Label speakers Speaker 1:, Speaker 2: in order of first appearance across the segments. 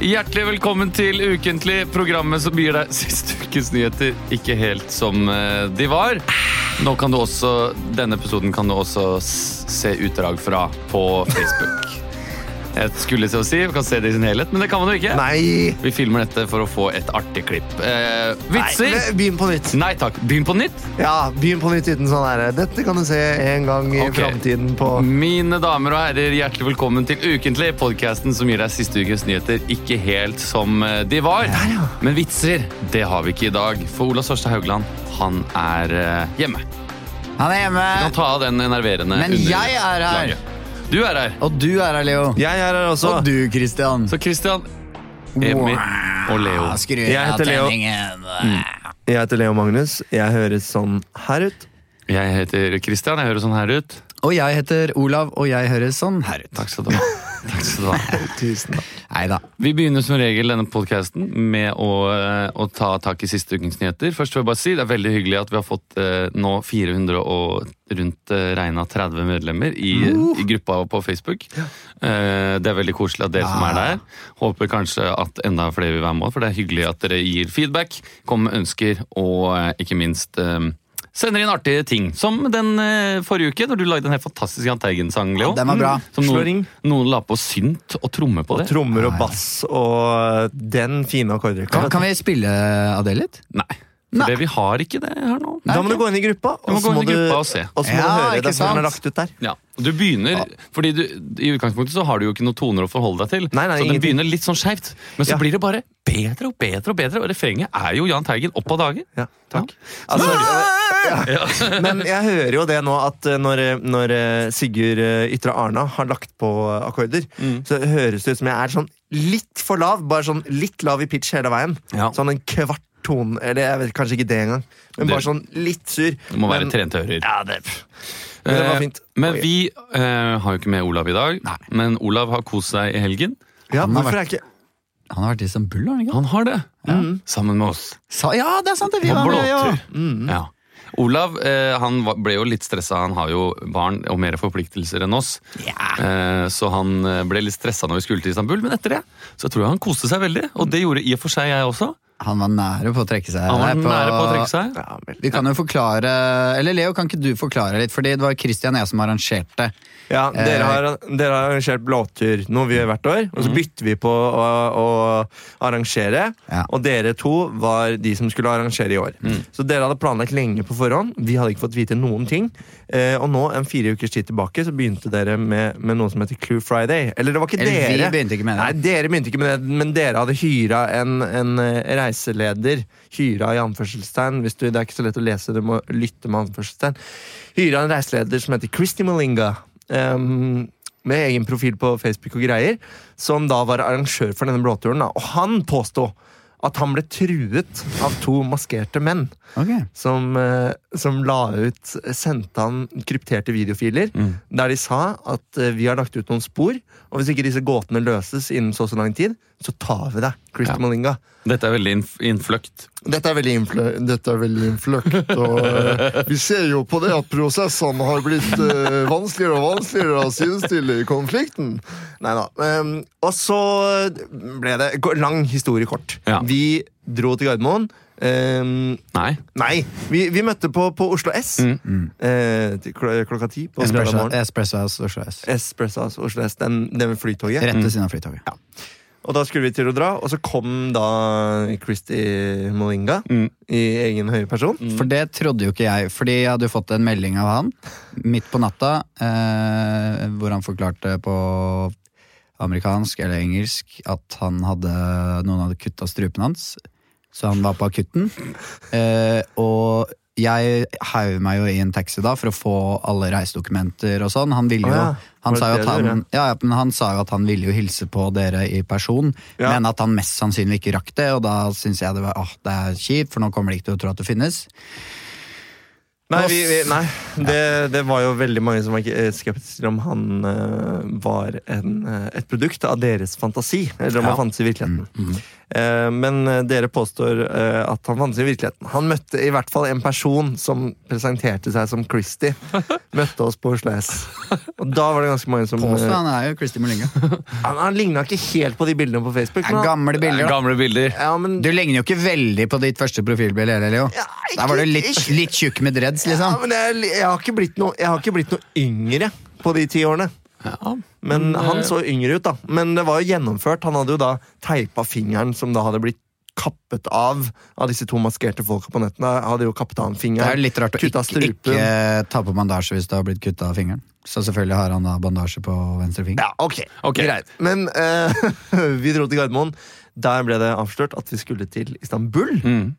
Speaker 1: Hjertelig velkommen til Ukentlig, programmet som gir deg siste ukes nyheter ikke helt som eh, de var. Nå kan du også, Denne episoden kan du også s- se utdrag fra på Facebook. Jeg skulle til å si, Vi kan se det i sin helhet, men det kan man jo ikke.
Speaker 2: Nei!
Speaker 1: Vi filmer dette for å få et artig klipp. Eh, vitser!
Speaker 2: Nei, Begynn på nytt.
Speaker 1: Nei takk. Begynn på nytt.
Speaker 2: Ja, Begynn på nytt uten sånn her. Dette kan du se en gang i
Speaker 1: Ok.
Speaker 2: framtiden på
Speaker 1: Mine damer og herrer, hjertelig velkommen til Ukentlig, podkasten som gir deg siste ukes nyheter ikke helt som eh, de var.
Speaker 2: ja.
Speaker 1: Men vitser, det har vi ikke i dag. For Ola Sørstad Haugland, han er eh, hjemme.
Speaker 3: Han er hjemme,
Speaker 1: Kan ta av den enerverende
Speaker 3: Men
Speaker 1: under-
Speaker 3: jeg er her.
Speaker 1: laget. Du er her.
Speaker 3: og du er her, Leo.
Speaker 2: Jeg er her også.
Speaker 3: Og du, Christian.
Speaker 1: Så Christian, Emil og Leo. Mm.
Speaker 3: Wow, Skru
Speaker 2: Jeg
Speaker 3: av
Speaker 2: heter Leo.
Speaker 3: tenningen.
Speaker 2: Jeg heter Leo Magnus. Jeg høres sånn her ut.
Speaker 1: Jeg heter Christian, jeg hører sånn her ut.
Speaker 3: Og jeg heter Olav, og jeg høres sånn her ut.
Speaker 1: Takk skal du ha. Takk skal du ha.
Speaker 2: Tusen takk.
Speaker 3: Neida.
Speaker 1: Vi begynner som regel denne podcasten med å, eh, å ta tak i siste ukens nyheter. Først vil jeg bare si Det er veldig hyggelig at vi har fått eh, nå 400 og rundt eh, regna 30 medlemmer i,
Speaker 3: Uh.
Speaker 1: i gruppa på Facebook. Eh, det er veldig koselig at dere som
Speaker 3: Ah.
Speaker 1: er der. Håper kanskje at enda flere vil være med, for det er hyggelig at dere gir feedback, kommer med ønsker og eh, ikke minst eh, Sender inn artige ting, som den eh, forrige uke, når du lagde en helt fantastisk Jahn Teigen-sang, Leo. Mm.
Speaker 3: den var bra.
Speaker 1: Som
Speaker 2: Slå ring.
Speaker 1: noen, noen la på synt og tromme på det.
Speaker 2: Trommer og bass og den fine akkordrekka.
Speaker 3: Kan, kan vi spille av det litt?
Speaker 1: Nei. For
Speaker 3: Nei.
Speaker 1: det, vi har ikke det her nå.
Speaker 2: Da må du gå inn i gruppa,
Speaker 1: Du må
Speaker 2: og så
Speaker 1: gå
Speaker 2: må
Speaker 1: inn i
Speaker 2: du,
Speaker 1: gruppa og
Speaker 2: og
Speaker 1: se.
Speaker 2: så må du
Speaker 3: Ja,
Speaker 2: høre
Speaker 3: ikke
Speaker 2: den som
Speaker 3: sant?
Speaker 2: er lagt ut der.
Speaker 1: Ja. Du begynner, fordi du, I utgangspunktet så har du jo ikke noen toner å forholde deg til.
Speaker 2: Nei, nei,
Speaker 1: så den
Speaker 2: ingenting.
Speaker 1: begynner litt sånn skeivt. Men så
Speaker 2: Ja.
Speaker 1: blir det bare bedre og bedre. Og bedre Og refrenget er jo Jahn Teigen opp av dagen.
Speaker 2: Ja, takk. Altså,
Speaker 1: Ja.
Speaker 2: men jeg hører jo det nå at eh, når, eh, når eh, Sigurd eh, Ytre Arna har lagt på eh, akkorder,
Speaker 1: Mm.
Speaker 2: så høres det ut som jeg er sånn litt for lav. Bare sånn litt lav i pitch hele veien.
Speaker 1: Ja.
Speaker 2: Sånn en kvart tone, eller jeg vet kanskje ikke det engang. Men
Speaker 1: Det-
Speaker 2: bare sånn litt sur.
Speaker 1: Det må være
Speaker 2: men,
Speaker 1: trente ører.
Speaker 2: ja, det, men det var fint.
Speaker 1: Eh, Men
Speaker 2: Ok.
Speaker 1: vi eh, har jo ikke med Olav i dag.
Speaker 3: Nei.
Speaker 1: Men Olav har kost seg i helgen.
Speaker 2: ja,
Speaker 3: Han har
Speaker 2: hvorfor er ikke
Speaker 3: Han har vært i Istanbul, har han ikke?
Speaker 1: Han har det. Sammen med oss.
Speaker 3: Sa, ja, det er sant! det vi
Speaker 1: På
Speaker 3: var med, ja. Mm.
Speaker 1: blåtur. Ja. Olav eh, han var- ble jo litt stressa. Han har jo barn og mer forpliktelser enn oss.
Speaker 3: Ja.
Speaker 1: Eh, Så han eh, ble litt stressa når vi skulle til Istanbul, men etter det så tror jeg han koste seg veldig. Og det gjorde i og for seg jeg også.
Speaker 3: Han var nære på å trekke seg.
Speaker 1: Han var
Speaker 3: Nei, på-
Speaker 1: nære på å trekke seg.
Speaker 2: ja, vel.
Speaker 3: Vi kan jo forklare Eller Leo, kan ikke du forklare litt? Fordi det var Christian og jeg som arrangerte.
Speaker 2: ja,
Speaker 3: Eh. Mhm.
Speaker 2: dere, har, dere har arrangert blåtur, noe vi gjør hvert år. Og så bytter vi på å, å arrangere.
Speaker 3: Ja. Mhm.
Speaker 2: Og dere to var de som skulle arrangere i år. Så dere hadde planlagt lenge på forhånd. Vi hadde ikke fått vite noen ting. Eh, og nå, en fire ukers tid tilbake, så begynte dere med, med noe som heter Clue Friday. Eller det var ikke
Speaker 3: Eller vi
Speaker 2: dere.
Speaker 3: begynte ikke med det.
Speaker 2: Nei, dere begynte ikke med det, men dere hadde hyra en, en eh, reiseleder. Hyra i anførselstegn. Hvis du, det er ikke så lett å lese, du må lytte med anførselstegn. Hyra en reiseleder som heter Christy Malinga. ehm, med egen profil på Facebook og greier. Som da var arrangør for denne blåturen. Da. Og han påsto at han ble truet av to maskerte menn
Speaker 3: Ok.
Speaker 2: som, eh, som la ut Sendte han krypterte videofiler
Speaker 1: Mm.
Speaker 2: der de sa at eh, vi har lagt ut noen spor, og hvis ikke disse gåtene løses innen så og så lang tid, så tar vi deg, Chris
Speaker 1: Ja.
Speaker 2: Malinga.
Speaker 1: Dette er veldig innf- innfløkt.
Speaker 4: Dette er veldig, innflø dette er veldig innfløkt, og eh, vi ser jo på det at prosessene har blitt eh, vanskeligere og vanskeligere å sidestille i konflikten.
Speaker 2: Nei da. Ehm, og så ble det gå- lang historie kort.
Speaker 1: Ja.
Speaker 2: Vi dro til Gardermoen. ehm,
Speaker 1: Nei.
Speaker 2: nei, vi, vi møtte på, på Oslo S eh, til kl klokka ti på lørdag
Speaker 3: Mm. Espresso,
Speaker 2: morgen.
Speaker 3: espresso House Oslo S.
Speaker 2: Espresso altså, Oslo S, den, den ved flytoget.
Speaker 3: Rett ved siden av flytoget.
Speaker 2: Og da skulle vi til å dra, og så kom da Christy Molinga
Speaker 3: Mm.
Speaker 2: i egen høye person.
Speaker 3: For det trodde jo ikke jeg, fordi jeg hadde jo fått en melding av han midt på natta, eh, hvor han forklarte på amerikansk eller engelsk at han hadde, noen hadde kutta strupen hans, så han var på akutten. Eh, og jeg heiv meg jo i en taxi da for å få alle reisedokumenter og sånn. Han ville
Speaker 2: Å
Speaker 3: jo
Speaker 2: ja,
Speaker 3: han
Speaker 2: var
Speaker 3: sa jo
Speaker 2: det
Speaker 3: at
Speaker 2: det du
Speaker 3: han,
Speaker 2: gjorde?
Speaker 3: ja, ja, men han sa jo at han ville jo hilse på dere i person,
Speaker 2: Ja.
Speaker 3: men at han mest sannsynlig ikke rakk det, og da syns jeg det var åh, det er kjipt, for nå kommer de ikke til å tro at det finnes.
Speaker 2: Nei, vi, vi, nei. Det, det var jo veldig mange som var ikke- eh, skeptiske til om han eh, var en, eh, et produkt av deres fantasi, eller om
Speaker 1: Ja.
Speaker 2: han fantes i virkeligheten.
Speaker 3: Mm,
Speaker 2: Eh, men eh, dere påstår eh, at han fantes i virkeligheten. Han møtte i hvert fall en person som presenterte seg som Christie. Møtte oss på Oslo S. Og da var det ganske mange som
Speaker 3: Påstå,
Speaker 2: eh,
Speaker 3: han er jo Christy Molinga.
Speaker 2: Han, han ligna ikke helt på de bildene på Facebook. men han-
Speaker 3: Gamle bilder, da.
Speaker 1: Gamle bilder.
Speaker 2: ja, men,
Speaker 3: Du ligner jo ikke veldig på ditt første profilbilde heller, Leo.
Speaker 2: Ja, ikke-
Speaker 3: Der var du litt,
Speaker 2: ikke-
Speaker 3: litt tjukk med dreads,
Speaker 2: ja,
Speaker 3: liksom.
Speaker 2: men jeg, jeg, har ikke blitt noe, jeg har ikke blitt noe yngre på de ti årene.
Speaker 1: Ja.
Speaker 2: Men
Speaker 3: Mm, eh.
Speaker 2: han så yngre ut, da. Men det var jo gjennomført. Han hadde jo da teipa fingeren som da hadde blitt kappet av av disse to maskerte folka på nettene. Hadde jo kappet av en
Speaker 3: Det
Speaker 2: finger.
Speaker 3: er jo litt rart å
Speaker 2: Kutta
Speaker 3: ikke,
Speaker 2: strupen.
Speaker 3: ikke eh, ta på bandasje hvis du har blitt kutta av fingeren. Så selvfølgelig har han da bandasje på venstre finger.
Speaker 2: Ja, ok,
Speaker 1: Ok.
Speaker 2: greit. Men eh, vi dro til Gardermoen. Der ble det avslørt at vi skulle til Istanbul.
Speaker 1: Mm.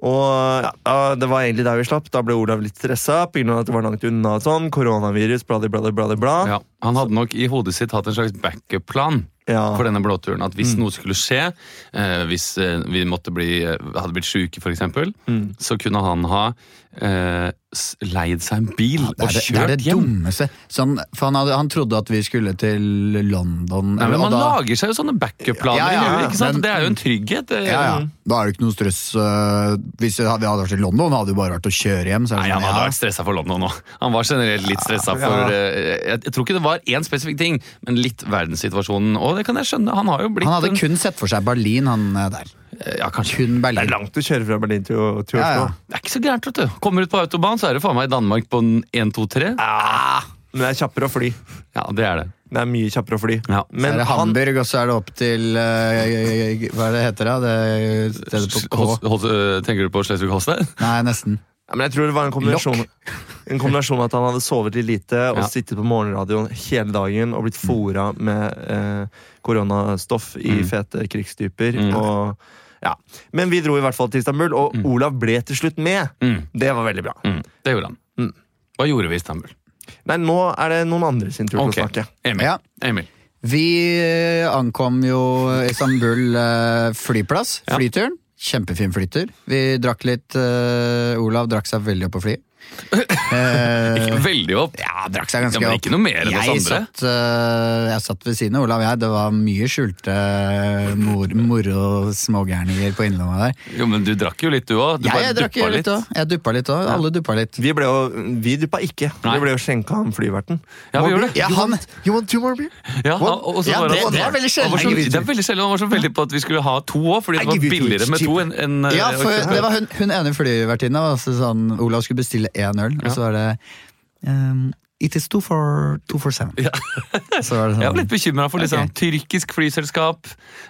Speaker 2: Og ja, det var egentlig der vi slapp. Da ble Olav litt stressa pga. at det var langt unna. og sånn, Koronavirus, bla, bla, bla. bla, bla.
Speaker 1: Ja, han hadde nok i hodet sitt hatt en slags backup-plan
Speaker 2: Ja.
Speaker 1: for denne blåturen. At
Speaker 3: Mm.
Speaker 1: hvis noe skulle skje, eh, hvis eh, vi måtte bli, eh, hadde blitt sjuke f.eks., eksempel,
Speaker 2: Mm.
Speaker 1: så kunne han ha eh, s- leid seg en bil
Speaker 3: Det
Speaker 1: og
Speaker 3: er det,
Speaker 1: kjørt
Speaker 3: det, er det
Speaker 1: hjem.
Speaker 3: dummeste sånn, For han, hadde, han trodde at vi skulle til London.
Speaker 1: Nei,
Speaker 3: eller-
Speaker 1: men
Speaker 3: og
Speaker 1: Man
Speaker 3: da-
Speaker 1: lager seg jo sånne backup-planer
Speaker 3: Ja, ja,
Speaker 1: i
Speaker 3: ja.
Speaker 1: huet. ikke sant?
Speaker 3: Men-
Speaker 1: det er jo en trygghet. eh.
Speaker 3: ja, ja. Da er det ikke noe stress. øh, Hvis vi hadde vært i London, hadde det jo bare vært å kjøre hjem. Så er
Speaker 1: Nei,
Speaker 3: det
Speaker 1: Han
Speaker 3: sånn,
Speaker 1: hadde
Speaker 3: ja.
Speaker 1: vært stressa for London nå. Han var generelt litt stressa for eh, Jeg, jeg tror ikke det var én spesifikk ting, men litt verdenssituasjonen. Og det kan jeg skjønne. Han har jo blitt
Speaker 3: Han hadde
Speaker 1: en-
Speaker 3: kun sett for seg Berlin, han øh, der.
Speaker 1: Ja, kanskje.
Speaker 3: Kun
Speaker 2: Det er
Speaker 3: Berlin.
Speaker 2: langt å kjøre fra Berlin til, til Oslo.
Speaker 3: Ja, ja.
Speaker 1: Det er ikke så gærent, vet du. Kommer ut på autobahn, så er det faen meg i Danmark på den 1, 2, 3.
Speaker 2: Ah, men det er kjappere å fly.
Speaker 1: Ja, det er det.
Speaker 2: Det er mye kjappere å fly.
Speaker 1: Ja.
Speaker 3: Så
Speaker 2: Men
Speaker 3: er det
Speaker 2: han,
Speaker 3: Hamburg, og så er det opp til øh, Hva er det heter da? det? Stedet på
Speaker 1: Hos-
Speaker 3: K?
Speaker 1: hos- øh, tenker du på Schleswig-Holstein?
Speaker 3: Nei, nesten.
Speaker 2: ja, men jeg tror det var en kombinasjon En kombinasjon av at han hadde sovet litt lite og
Speaker 1: Ja.
Speaker 2: sittet på morgenradioen hele dagen og blitt fora med eh, koronastoff i fete krigsdyper.
Speaker 1: Mm.
Speaker 2: Og, ja. Men vi dro i hvert fall til Istanbul, og Olav ble til slutt med.
Speaker 1: Mm,
Speaker 2: Det var veldig bra.
Speaker 1: mm, det gjorde han.
Speaker 2: Mm.
Speaker 1: Hva gjorde vi i Istanbul?
Speaker 2: Nei, nå er det noen andre sin tur til
Speaker 1: Ok.
Speaker 2: å snakke.
Speaker 1: Emil.
Speaker 3: Ja.
Speaker 1: Emil.
Speaker 3: Vi eh, ankom jo Istanbul eh, flyplass,
Speaker 1: Ja.
Speaker 3: flyturen. Kjempefin flytur. Vi drakk litt eh, Olav drakk seg veldig opp på flyet.
Speaker 1: Ikke
Speaker 3: Eh,
Speaker 1: veldig opp.
Speaker 3: ja, drakk seg
Speaker 1: Ja,
Speaker 3: ganske
Speaker 1: men
Speaker 3: opp.
Speaker 1: ikke noe mer enn oss
Speaker 3: jeg
Speaker 1: andre.
Speaker 3: Satt, eh, jeg satt ved siden av Olav, og jeg. Det var mye skjulte eh, mor, moro smågærninger på innlomma der.
Speaker 1: Jo, men du drakk jo litt, du òg. Du
Speaker 3: Jeg,
Speaker 1: bare
Speaker 3: jeg drakk
Speaker 1: duppa litt.
Speaker 3: litt òg. Jeg duppa litt òg. Alle duppa litt.
Speaker 2: Vi, ble jo, vi duppa ikke.
Speaker 1: Nei.
Speaker 2: Vi ble jo skjenka av flyverten.
Speaker 1: Ja, vi gjorde det.
Speaker 3: Ja, han,
Speaker 4: You want two more beer?
Speaker 1: Ja, og og så
Speaker 3: Ja,
Speaker 1: var
Speaker 3: det-
Speaker 1: han-
Speaker 3: det er veldig sjelden.
Speaker 1: Han var så-
Speaker 3: I give you
Speaker 1: Det er veldig sjelden. Han var så veldig på at vi skulle ha to òg, fordi det
Speaker 2: I
Speaker 1: var
Speaker 2: give you two,
Speaker 1: billigere
Speaker 2: it's
Speaker 1: med to enn enn, øh,
Speaker 3: Ja, for
Speaker 1: orkester.
Speaker 3: det var hun, hun ene flyvertinna. var altså Sånn, Olav skulle bestille én øl, og så var det ehm, It is two for, two for seven.
Speaker 1: Ja.
Speaker 3: så var det
Speaker 1: Jeg
Speaker 3: sånn,
Speaker 1: var litt bekymra for liksom,
Speaker 3: Ok.
Speaker 1: tyrkisk flyselskap.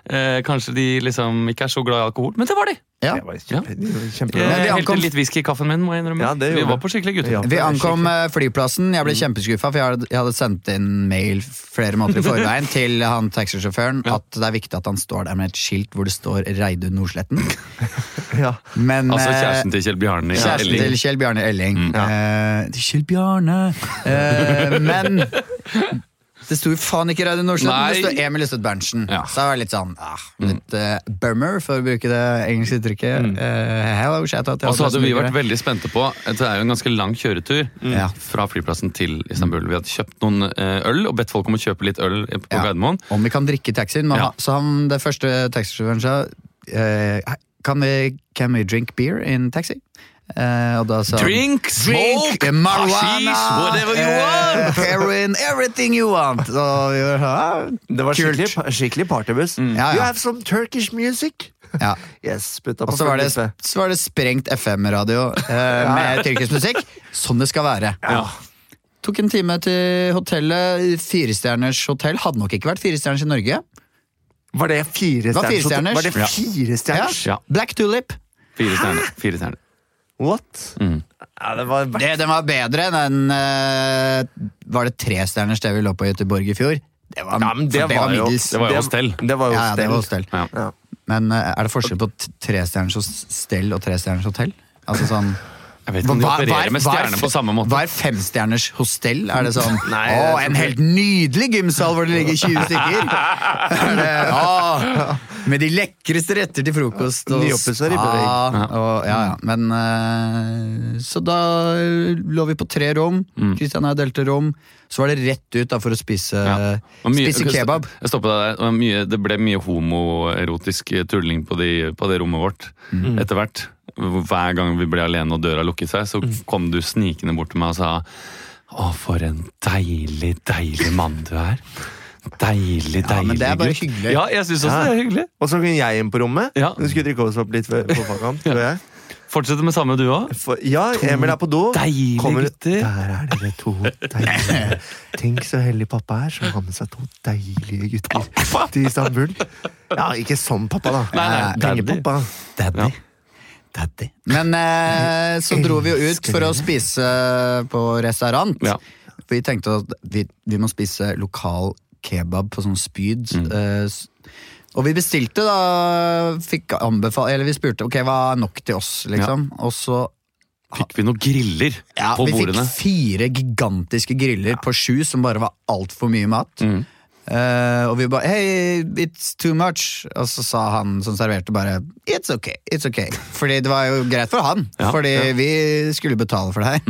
Speaker 1: Eh, kanskje de liksom ikke er så glad i alkohol, men det var de!
Speaker 3: ja.
Speaker 2: Det var kjempe, kjempe,
Speaker 1: Jeg
Speaker 3: vi
Speaker 1: helte
Speaker 3: ankom-
Speaker 1: litt whisky i kaffen min, må jeg innrømme.
Speaker 2: Ja, det
Speaker 1: vi
Speaker 2: gjorde
Speaker 1: var
Speaker 2: det.
Speaker 1: på skikkelig gutter.
Speaker 2: Ja.
Speaker 3: Vi ankom eh, flyplassen. Jeg ble
Speaker 1: Mm.
Speaker 3: kjempeskuffa, for jeg hadde, jeg hadde sendt inn mail flere måneder i forveien til han taxisjåføren at det er viktig at han står der med et skilt hvor det står Reidun Nordsletten.
Speaker 2: ja.
Speaker 3: Men
Speaker 1: Altså
Speaker 3: eh,
Speaker 1: kjæresten til Kjell Bjarne. i
Speaker 3: Kjæresten
Speaker 1: Elling. Mm.
Speaker 3: til Kjell Bjarne Elling. Eh, til Kjell Bjarne eh, Men det sto jo faen ikke Radio Nordstrand, det
Speaker 1: Nei.
Speaker 3: sto Emil Østedt Berntsen.
Speaker 1: Ja. Mm.
Speaker 3: Så det var litt sånn ah, litt eh, bummer, for å bruke det engelske uttrykket. Eh, hello, shout out til
Speaker 1: Og så
Speaker 3: alle
Speaker 1: hadde
Speaker 3: som
Speaker 1: vi
Speaker 3: bruker
Speaker 1: vært
Speaker 3: det.
Speaker 1: veldig spente på at Det er jo en ganske lang kjøretur
Speaker 3: Ja.
Speaker 1: fra flyplassen til Istanbul. Vi hadde kjøpt noen eh, øl og bedt folk om å kjøpe litt øl på
Speaker 3: Ja.
Speaker 1: Gardermoen.
Speaker 3: Om vi kan drikke i taxien. men
Speaker 1: Ja.
Speaker 3: han- Så han, det første taxisjåføren sa eh, kan vi, Can we drink beer in taxi? Eh, og da sa han,
Speaker 1: Drink,
Speaker 3: Drink,
Speaker 1: smoke,
Speaker 3: marijuana,
Speaker 1: hashish, whatever you
Speaker 3: eh,
Speaker 1: want!
Speaker 3: heroin, everything you want. Så vi var, sånn, ah,
Speaker 2: Det var
Speaker 3: Kult.
Speaker 2: skikkelig, skikkelig partybuss.
Speaker 3: Ja,
Speaker 2: You
Speaker 3: ja.
Speaker 2: have some Turkish music?
Speaker 3: "Ah." Ja.
Speaker 2: Yes, putta
Speaker 3: Og
Speaker 2: på
Speaker 3: så var, det,
Speaker 2: følgelse.
Speaker 3: så var det sprengt FM-radio eh, med tyrkisk musikk. Sånn det skal være.
Speaker 1: Ja.
Speaker 3: Tok en time til hotellet. Firestjerners hotell hadde nok ikke vært firestjerners i Norge.
Speaker 2: Var det fire
Speaker 3: var fire
Speaker 2: stjerners?
Speaker 3: stjerners.
Speaker 2: Var det
Speaker 1: Ja.
Speaker 2: fire
Speaker 3: Ja.
Speaker 2: stjerners?
Speaker 1: Ja.
Speaker 3: Black Tulip.
Speaker 1: Fire stjerner. Fire stjerner.
Speaker 2: What?
Speaker 1: Mm.
Speaker 2: Ja, det var
Speaker 3: Det, den var bedre enn den eh, Var det trestjerners det vi lå på i Göteborg i fjor? Det var,
Speaker 2: Ja, men det
Speaker 3: for
Speaker 2: var jo-
Speaker 3: middels.
Speaker 1: Det var jo
Speaker 2: Det-
Speaker 1: hostell.
Speaker 2: Det var jo
Speaker 3: ja, ja, det
Speaker 2: stell.
Speaker 3: var hostell.
Speaker 1: Ja.
Speaker 2: Ja.
Speaker 3: Men eh, er det forskjell på t- trestjerners hos- stell og trestjerners hotell? Altså sånn
Speaker 1: Jeg vet ikke om de
Speaker 3: Hver- hver-
Speaker 1: opererer med
Speaker 3: hver-
Speaker 1: stjerner på samme måte.
Speaker 3: Hver femstjerners hostell er det sånn
Speaker 2: Nei,
Speaker 3: Å,
Speaker 2: jeg-
Speaker 3: en helt nydelig gymsal hvor det ligger 20 stykker! Er det, «Å, med de lekreste retter til frokost. Og
Speaker 2: Nyoppussa ribbelegg.
Speaker 3: spa, og, ja, ja. Men eh, Så da lå vi på tre rom.
Speaker 1: Mm.
Speaker 3: Kristian og jeg delte rom. Så var det rett ut da for å spise,
Speaker 1: Ja. Og mye-
Speaker 3: Eh, spise kebab.
Speaker 1: Jeg stoppet deg der. Det var mye- Det ble mye homoerotisk tulling på, de, på det rommet vårt
Speaker 3: Mm.
Speaker 1: etter hvert. Hver gang vi ble alene og døra lukket seg, så
Speaker 3: Mm.
Speaker 1: kom du snikende bort til meg og sa Å, for en deilig, deilig mann du er. Deilig, deilig
Speaker 3: Ja, men det er bare
Speaker 1: gutt.»
Speaker 3: hyggelig.
Speaker 1: Ja, jeg synes også det er hyggelig.
Speaker 2: Og så kunne jeg inn på rommet.
Speaker 1: Ja.
Speaker 2: Vi skulle drikke oss opp litt ved- på fagkamp, tror jeg.
Speaker 1: Fortsette med samme du òg.
Speaker 2: For, ja, Emil er på do.
Speaker 1: Deilige
Speaker 2: Kommer-
Speaker 1: gutter.
Speaker 2: Der er dere to deilige Tenk så heldig pappa er som har med seg to deilige gutter til Istanbul. Ja, ikke som pappa, da. Eh,
Speaker 1: Nei, nei,
Speaker 2: Pengepappa.
Speaker 3: Daddy.
Speaker 1: Ja.
Speaker 3: Daddy. Men eh, så dro vi jo ut for å spise på restaurant.
Speaker 1: Ja.
Speaker 3: Vi tenkte at vi, vi må spise lokal kebab på sånn spyd.
Speaker 1: Mm.
Speaker 3: eh, s- og vi bestilte da fikk anbefale, Eller vi spurte ok, hva er nok til oss, liksom. Og så
Speaker 1: Fikk vi noen griller
Speaker 3: ja,
Speaker 1: på
Speaker 3: vi
Speaker 1: bordene?
Speaker 3: fikk fire gigantiske griller på sju som bare var altfor mye mat.
Speaker 1: Mm.
Speaker 3: Eh, og vi bare Hey, it's too much. Og så sa han som serverte, bare It's okay. it's okay Fordi det var jo greit for han,
Speaker 1: Ja, Mm.
Speaker 3: fordi vi skulle betale for det her.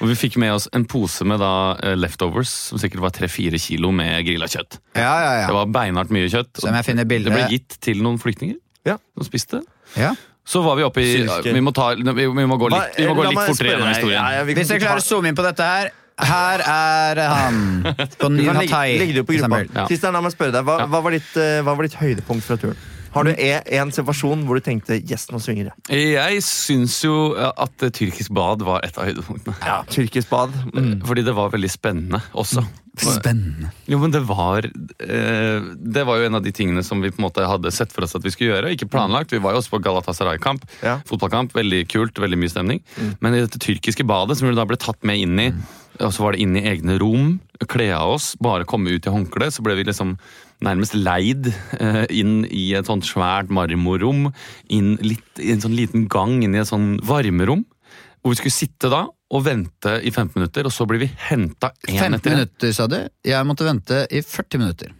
Speaker 1: Og vi fikk med oss en pose med da eh, leftovers, som sikkert var 3-4 kilo med grilla kjøtt.
Speaker 3: Ja, ja, ja.
Speaker 1: Det var beinhardt mye kjøtt.
Speaker 3: Så om jeg finner bildet-
Speaker 1: Det ble gitt til noen flyktninger
Speaker 2: Ja.
Speaker 1: som spiste.
Speaker 3: ja.
Speaker 1: Så var vi oppe i
Speaker 2: Syke.
Speaker 1: Vi må, ta, vi, vi må gå litt, vi må gå
Speaker 2: La
Speaker 1: litt
Speaker 2: meg
Speaker 1: fortere
Speaker 2: spørre
Speaker 1: gjennom
Speaker 2: deg.
Speaker 1: historien.
Speaker 2: Ja, ja, vi kan
Speaker 3: Hvis jeg
Speaker 2: ikke
Speaker 3: klarer å
Speaker 2: ta-
Speaker 3: zoome inn på dette her Her er han. På
Speaker 2: Du kan
Speaker 3: Nina
Speaker 2: legge,
Speaker 3: Tai.
Speaker 2: legge det ut på gruppa.
Speaker 1: Ja.
Speaker 2: Kristian, la meg spørre deg, hva, hva, var ditt, eh, hva var ditt høydepunkt fra turen? Har du
Speaker 3: Mm.
Speaker 2: e- en situasjon hvor du tenkte 'yes, nå svinger det'?
Speaker 1: Jeg syns jo at eh, tyrkisk bad var et av høydepunktene.
Speaker 2: Tyrkisk bad. Mm.
Speaker 1: Fordi det var veldig spennende også.
Speaker 3: Spennende.
Speaker 1: Jo, men det var eh, Det var jo en av de tingene som vi på en måte hadde sett for oss at vi skulle gjøre. Ikke planlagt. Vi var jo også på Galatasaray-kamp.
Speaker 2: Ja.
Speaker 1: Fotballkamp. Veldig kult, veldig mye stemning. Men i dette tyrkiske badet, som vi da ble tatt med inn i, og så var det inn i egne rom, kle av oss, bare komme ut i håndkle, så ble vi liksom nærmest leid eh, inn i et sånt svært marmorrom, inn litt, i en sånn liten gang inn i et sånn varmerom, hvor vi skulle sitte da og vente i 15 minutter, og så blir vi henta én
Speaker 3: 15
Speaker 1: etter én.
Speaker 3: minutter, sa du. Jeg måtte vente i 40 minutter.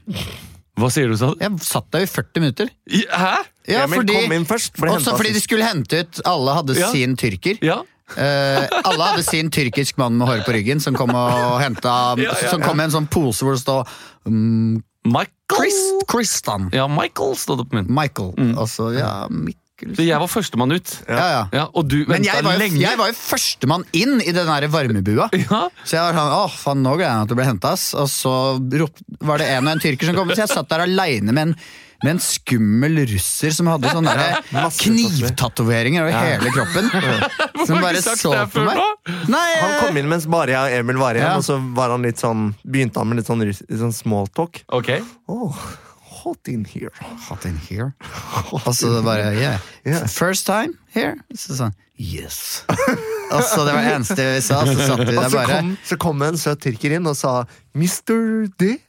Speaker 1: Hva sier du, sa du?
Speaker 3: Jeg satt der i 40 minutter.
Speaker 1: I- Hæ?
Speaker 3: Ja,
Speaker 2: Emil
Speaker 3: fordi
Speaker 2: kom inn først. Ble
Speaker 3: Også
Speaker 2: hentet
Speaker 3: fordi de
Speaker 2: sist.
Speaker 3: skulle hente ut Alle hadde
Speaker 1: Ja.
Speaker 3: sin tyrker.
Speaker 1: Ja.
Speaker 3: Eh, alle hadde sin tyrkisk mann med hår på ryggen som kom og henta
Speaker 1: Ja, ja,
Speaker 3: Som kom med en sånn pose hvor det står mm,
Speaker 1: Michael!
Speaker 3: Chris, Christian
Speaker 1: Ja, Michael stod det på min.
Speaker 3: Michael.
Speaker 2: Mm.
Speaker 3: Altså, ja, Mikkel
Speaker 1: Så jeg var førstemann ut.
Speaker 3: ja, ja.
Speaker 1: Ja, og du
Speaker 3: Men
Speaker 1: venta
Speaker 3: jeg var, jo,
Speaker 1: lenge.
Speaker 3: jeg var jo førstemann inn i den der varmebua.
Speaker 1: Ja.
Speaker 3: Så jeg var sånn, åh, faen, nå gleder jeg meg til å bli henta, ass. Og så rop, var det en og en tyrker som kom, så jeg satt der aleine med, en- med en skummel russer som hadde sånne der knivtatoveringer over hele kroppen.
Speaker 1: har du ikke sagt det før nå?
Speaker 3: Nei,
Speaker 2: Han kom inn mens bare jeg og Emil var igjen,
Speaker 3: Ja.
Speaker 2: og så var han litt sånn, begynte han med litt sånn, rus- litt sånn smalltalk.
Speaker 1: Ok.
Speaker 2: Oh, hot in here.
Speaker 3: Hot in here. Og så Altså, bare, yeah.
Speaker 2: Yeah.
Speaker 3: First time here? Så sånn, yes. Og så det var det eneste vi sa, så satt vi
Speaker 2: Og
Speaker 3: der
Speaker 2: så
Speaker 3: bare.
Speaker 2: kom, så kom en søt tyrker inn og sa 'Mr. D'.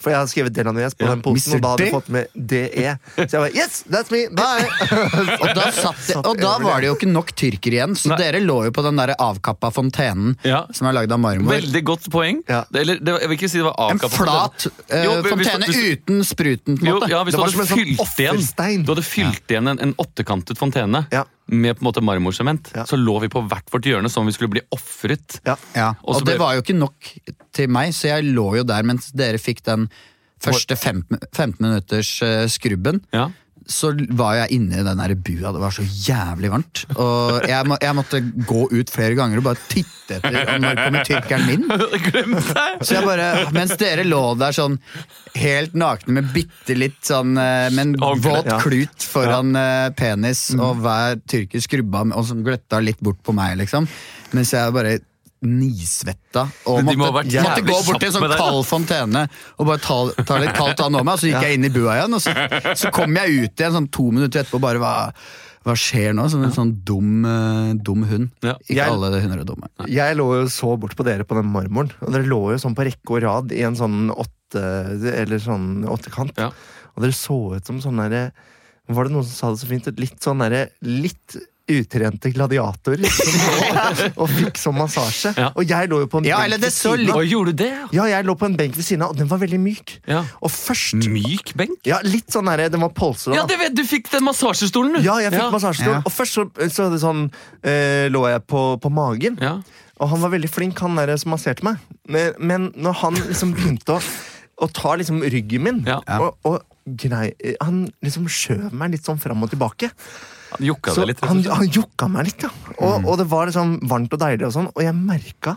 Speaker 2: For jeg har skrevet Delanyes på den posen,
Speaker 3: Mr.
Speaker 2: og da hadde
Speaker 3: D?
Speaker 2: jeg fått med DE. Så jeg bare 'Yes, that's me'. Bye!
Speaker 3: Og da, satt det, og da var det jo ikke nok tyrker igjen, så
Speaker 1: Nei.
Speaker 3: dere lå jo på den der avkappa fontenen
Speaker 1: Ja.
Speaker 3: som er lagd av marmor.
Speaker 1: Veldig godt poeng.
Speaker 2: Ja.
Speaker 1: Det, eller, det, var- jeg vil ikke si det var
Speaker 3: En
Speaker 1: avkappet.
Speaker 3: flat eh,
Speaker 1: Jo, hvis-
Speaker 3: fontene
Speaker 1: hvis-
Speaker 3: uten spruten, på en
Speaker 1: Jo,
Speaker 3: måte.
Speaker 1: ja, hvis du
Speaker 2: Det var
Speaker 1: hadde
Speaker 2: som en sånn
Speaker 1: fylt igjen,
Speaker 2: offerstein.
Speaker 1: du hadde fylt igjen en, en åttekantet fontene
Speaker 2: Ja.
Speaker 1: med på en måte marmorsement,
Speaker 2: Ja.
Speaker 1: så lå vi på hvert vårt hjørne som om vi skulle bli ofret.
Speaker 2: Ja.
Speaker 3: Ja,
Speaker 1: Og
Speaker 3: og
Speaker 1: så ble-
Speaker 3: det var jo ikke nok til meg, så jeg lå jo der mens dere fikk den første 15 15 minutters eh, skrubben.
Speaker 1: Ja.
Speaker 3: Så var jeg inne i den der bua, det var så jævlig varmt. Og jeg, må, jeg måtte gå ut flere ganger og bare titte etter om når kommer tyrkeren min.
Speaker 1: Glemte jeg!
Speaker 3: Så jeg bare, mens dere lå der sånn helt nakne med bitte litt sånn eh, Med en
Speaker 1: Ordentlig,
Speaker 3: våt
Speaker 2: ja.
Speaker 3: klut foran eh, penis,
Speaker 1: Mm.
Speaker 3: og hver tyrker skrubba med- og som gløtta litt bort på meg, liksom. Mens jeg bare nisvetta og
Speaker 1: Men de
Speaker 3: måtte,
Speaker 1: må ha vært
Speaker 3: måtte
Speaker 1: jævlig
Speaker 3: gå bort til en
Speaker 1: kjapp med
Speaker 3: sånn
Speaker 1: deg, da.
Speaker 3: kald fontene og bare ta, ta litt kaldt vann over meg. Og så gikk jeg inn i bua igjen, og så, så kom jeg ut igjen sånn to minutter etterpå og bare hva, hva skjer nå? Som en sånn dum, eh, dum hund.
Speaker 1: Ja.
Speaker 3: Ikke
Speaker 2: Jeg-
Speaker 3: alle hunder er dumme.
Speaker 2: Jeg lå jo så bort på dere på den marmoren, og dere lå jo sånn på rekke og rad i en sånn åtte Eller sånn åttekant.
Speaker 1: Ja.
Speaker 2: Og dere så ut som sånn derre Var det noen som sa det så fint? Et Litt sånn derre Litt utrente gladiatorer som lå og fikk sånn massasje.
Speaker 1: Ja.
Speaker 2: Og jeg lå jo på en
Speaker 3: Ja,
Speaker 2: benk
Speaker 3: eller
Speaker 2: ved
Speaker 3: det så
Speaker 2: siden av.
Speaker 1: Å, gjorde du det?
Speaker 2: Ja, jeg lå på en benk ved siden av, og den var veldig myk.
Speaker 1: Ja.
Speaker 2: Og først
Speaker 1: Myk benk?
Speaker 2: Ja, litt sånn derre Den var polstra.
Speaker 1: Ja, det vet, du fikk den massasjestolen, du!
Speaker 2: Ja, jeg fikk
Speaker 1: Ja.
Speaker 2: massasjestol.
Speaker 3: Ja.
Speaker 2: Og først så, så er det sånn, eh, lå jeg på, på magen,
Speaker 1: Ja.
Speaker 2: og han var veldig flink, han der som masserte meg. Men, men når han liksom begynte å, å ta liksom ryggen min
Speaker 1: Ja.
Speaker 2: og, og grei, Han liksom skjøv meg litt sånn fram og tilbake.
Speaker 1: Jukka
Speaker 2: Så
Speaker 1: det litt? rett og
Speaker 2: han,
Speaker 1: slett.
Speaker 2: han jukka meg litt, ja. Og,
Speaker 3: Mm.
Speaker 2: og det var liksom varmt og deilig, og sånn, og jeg merka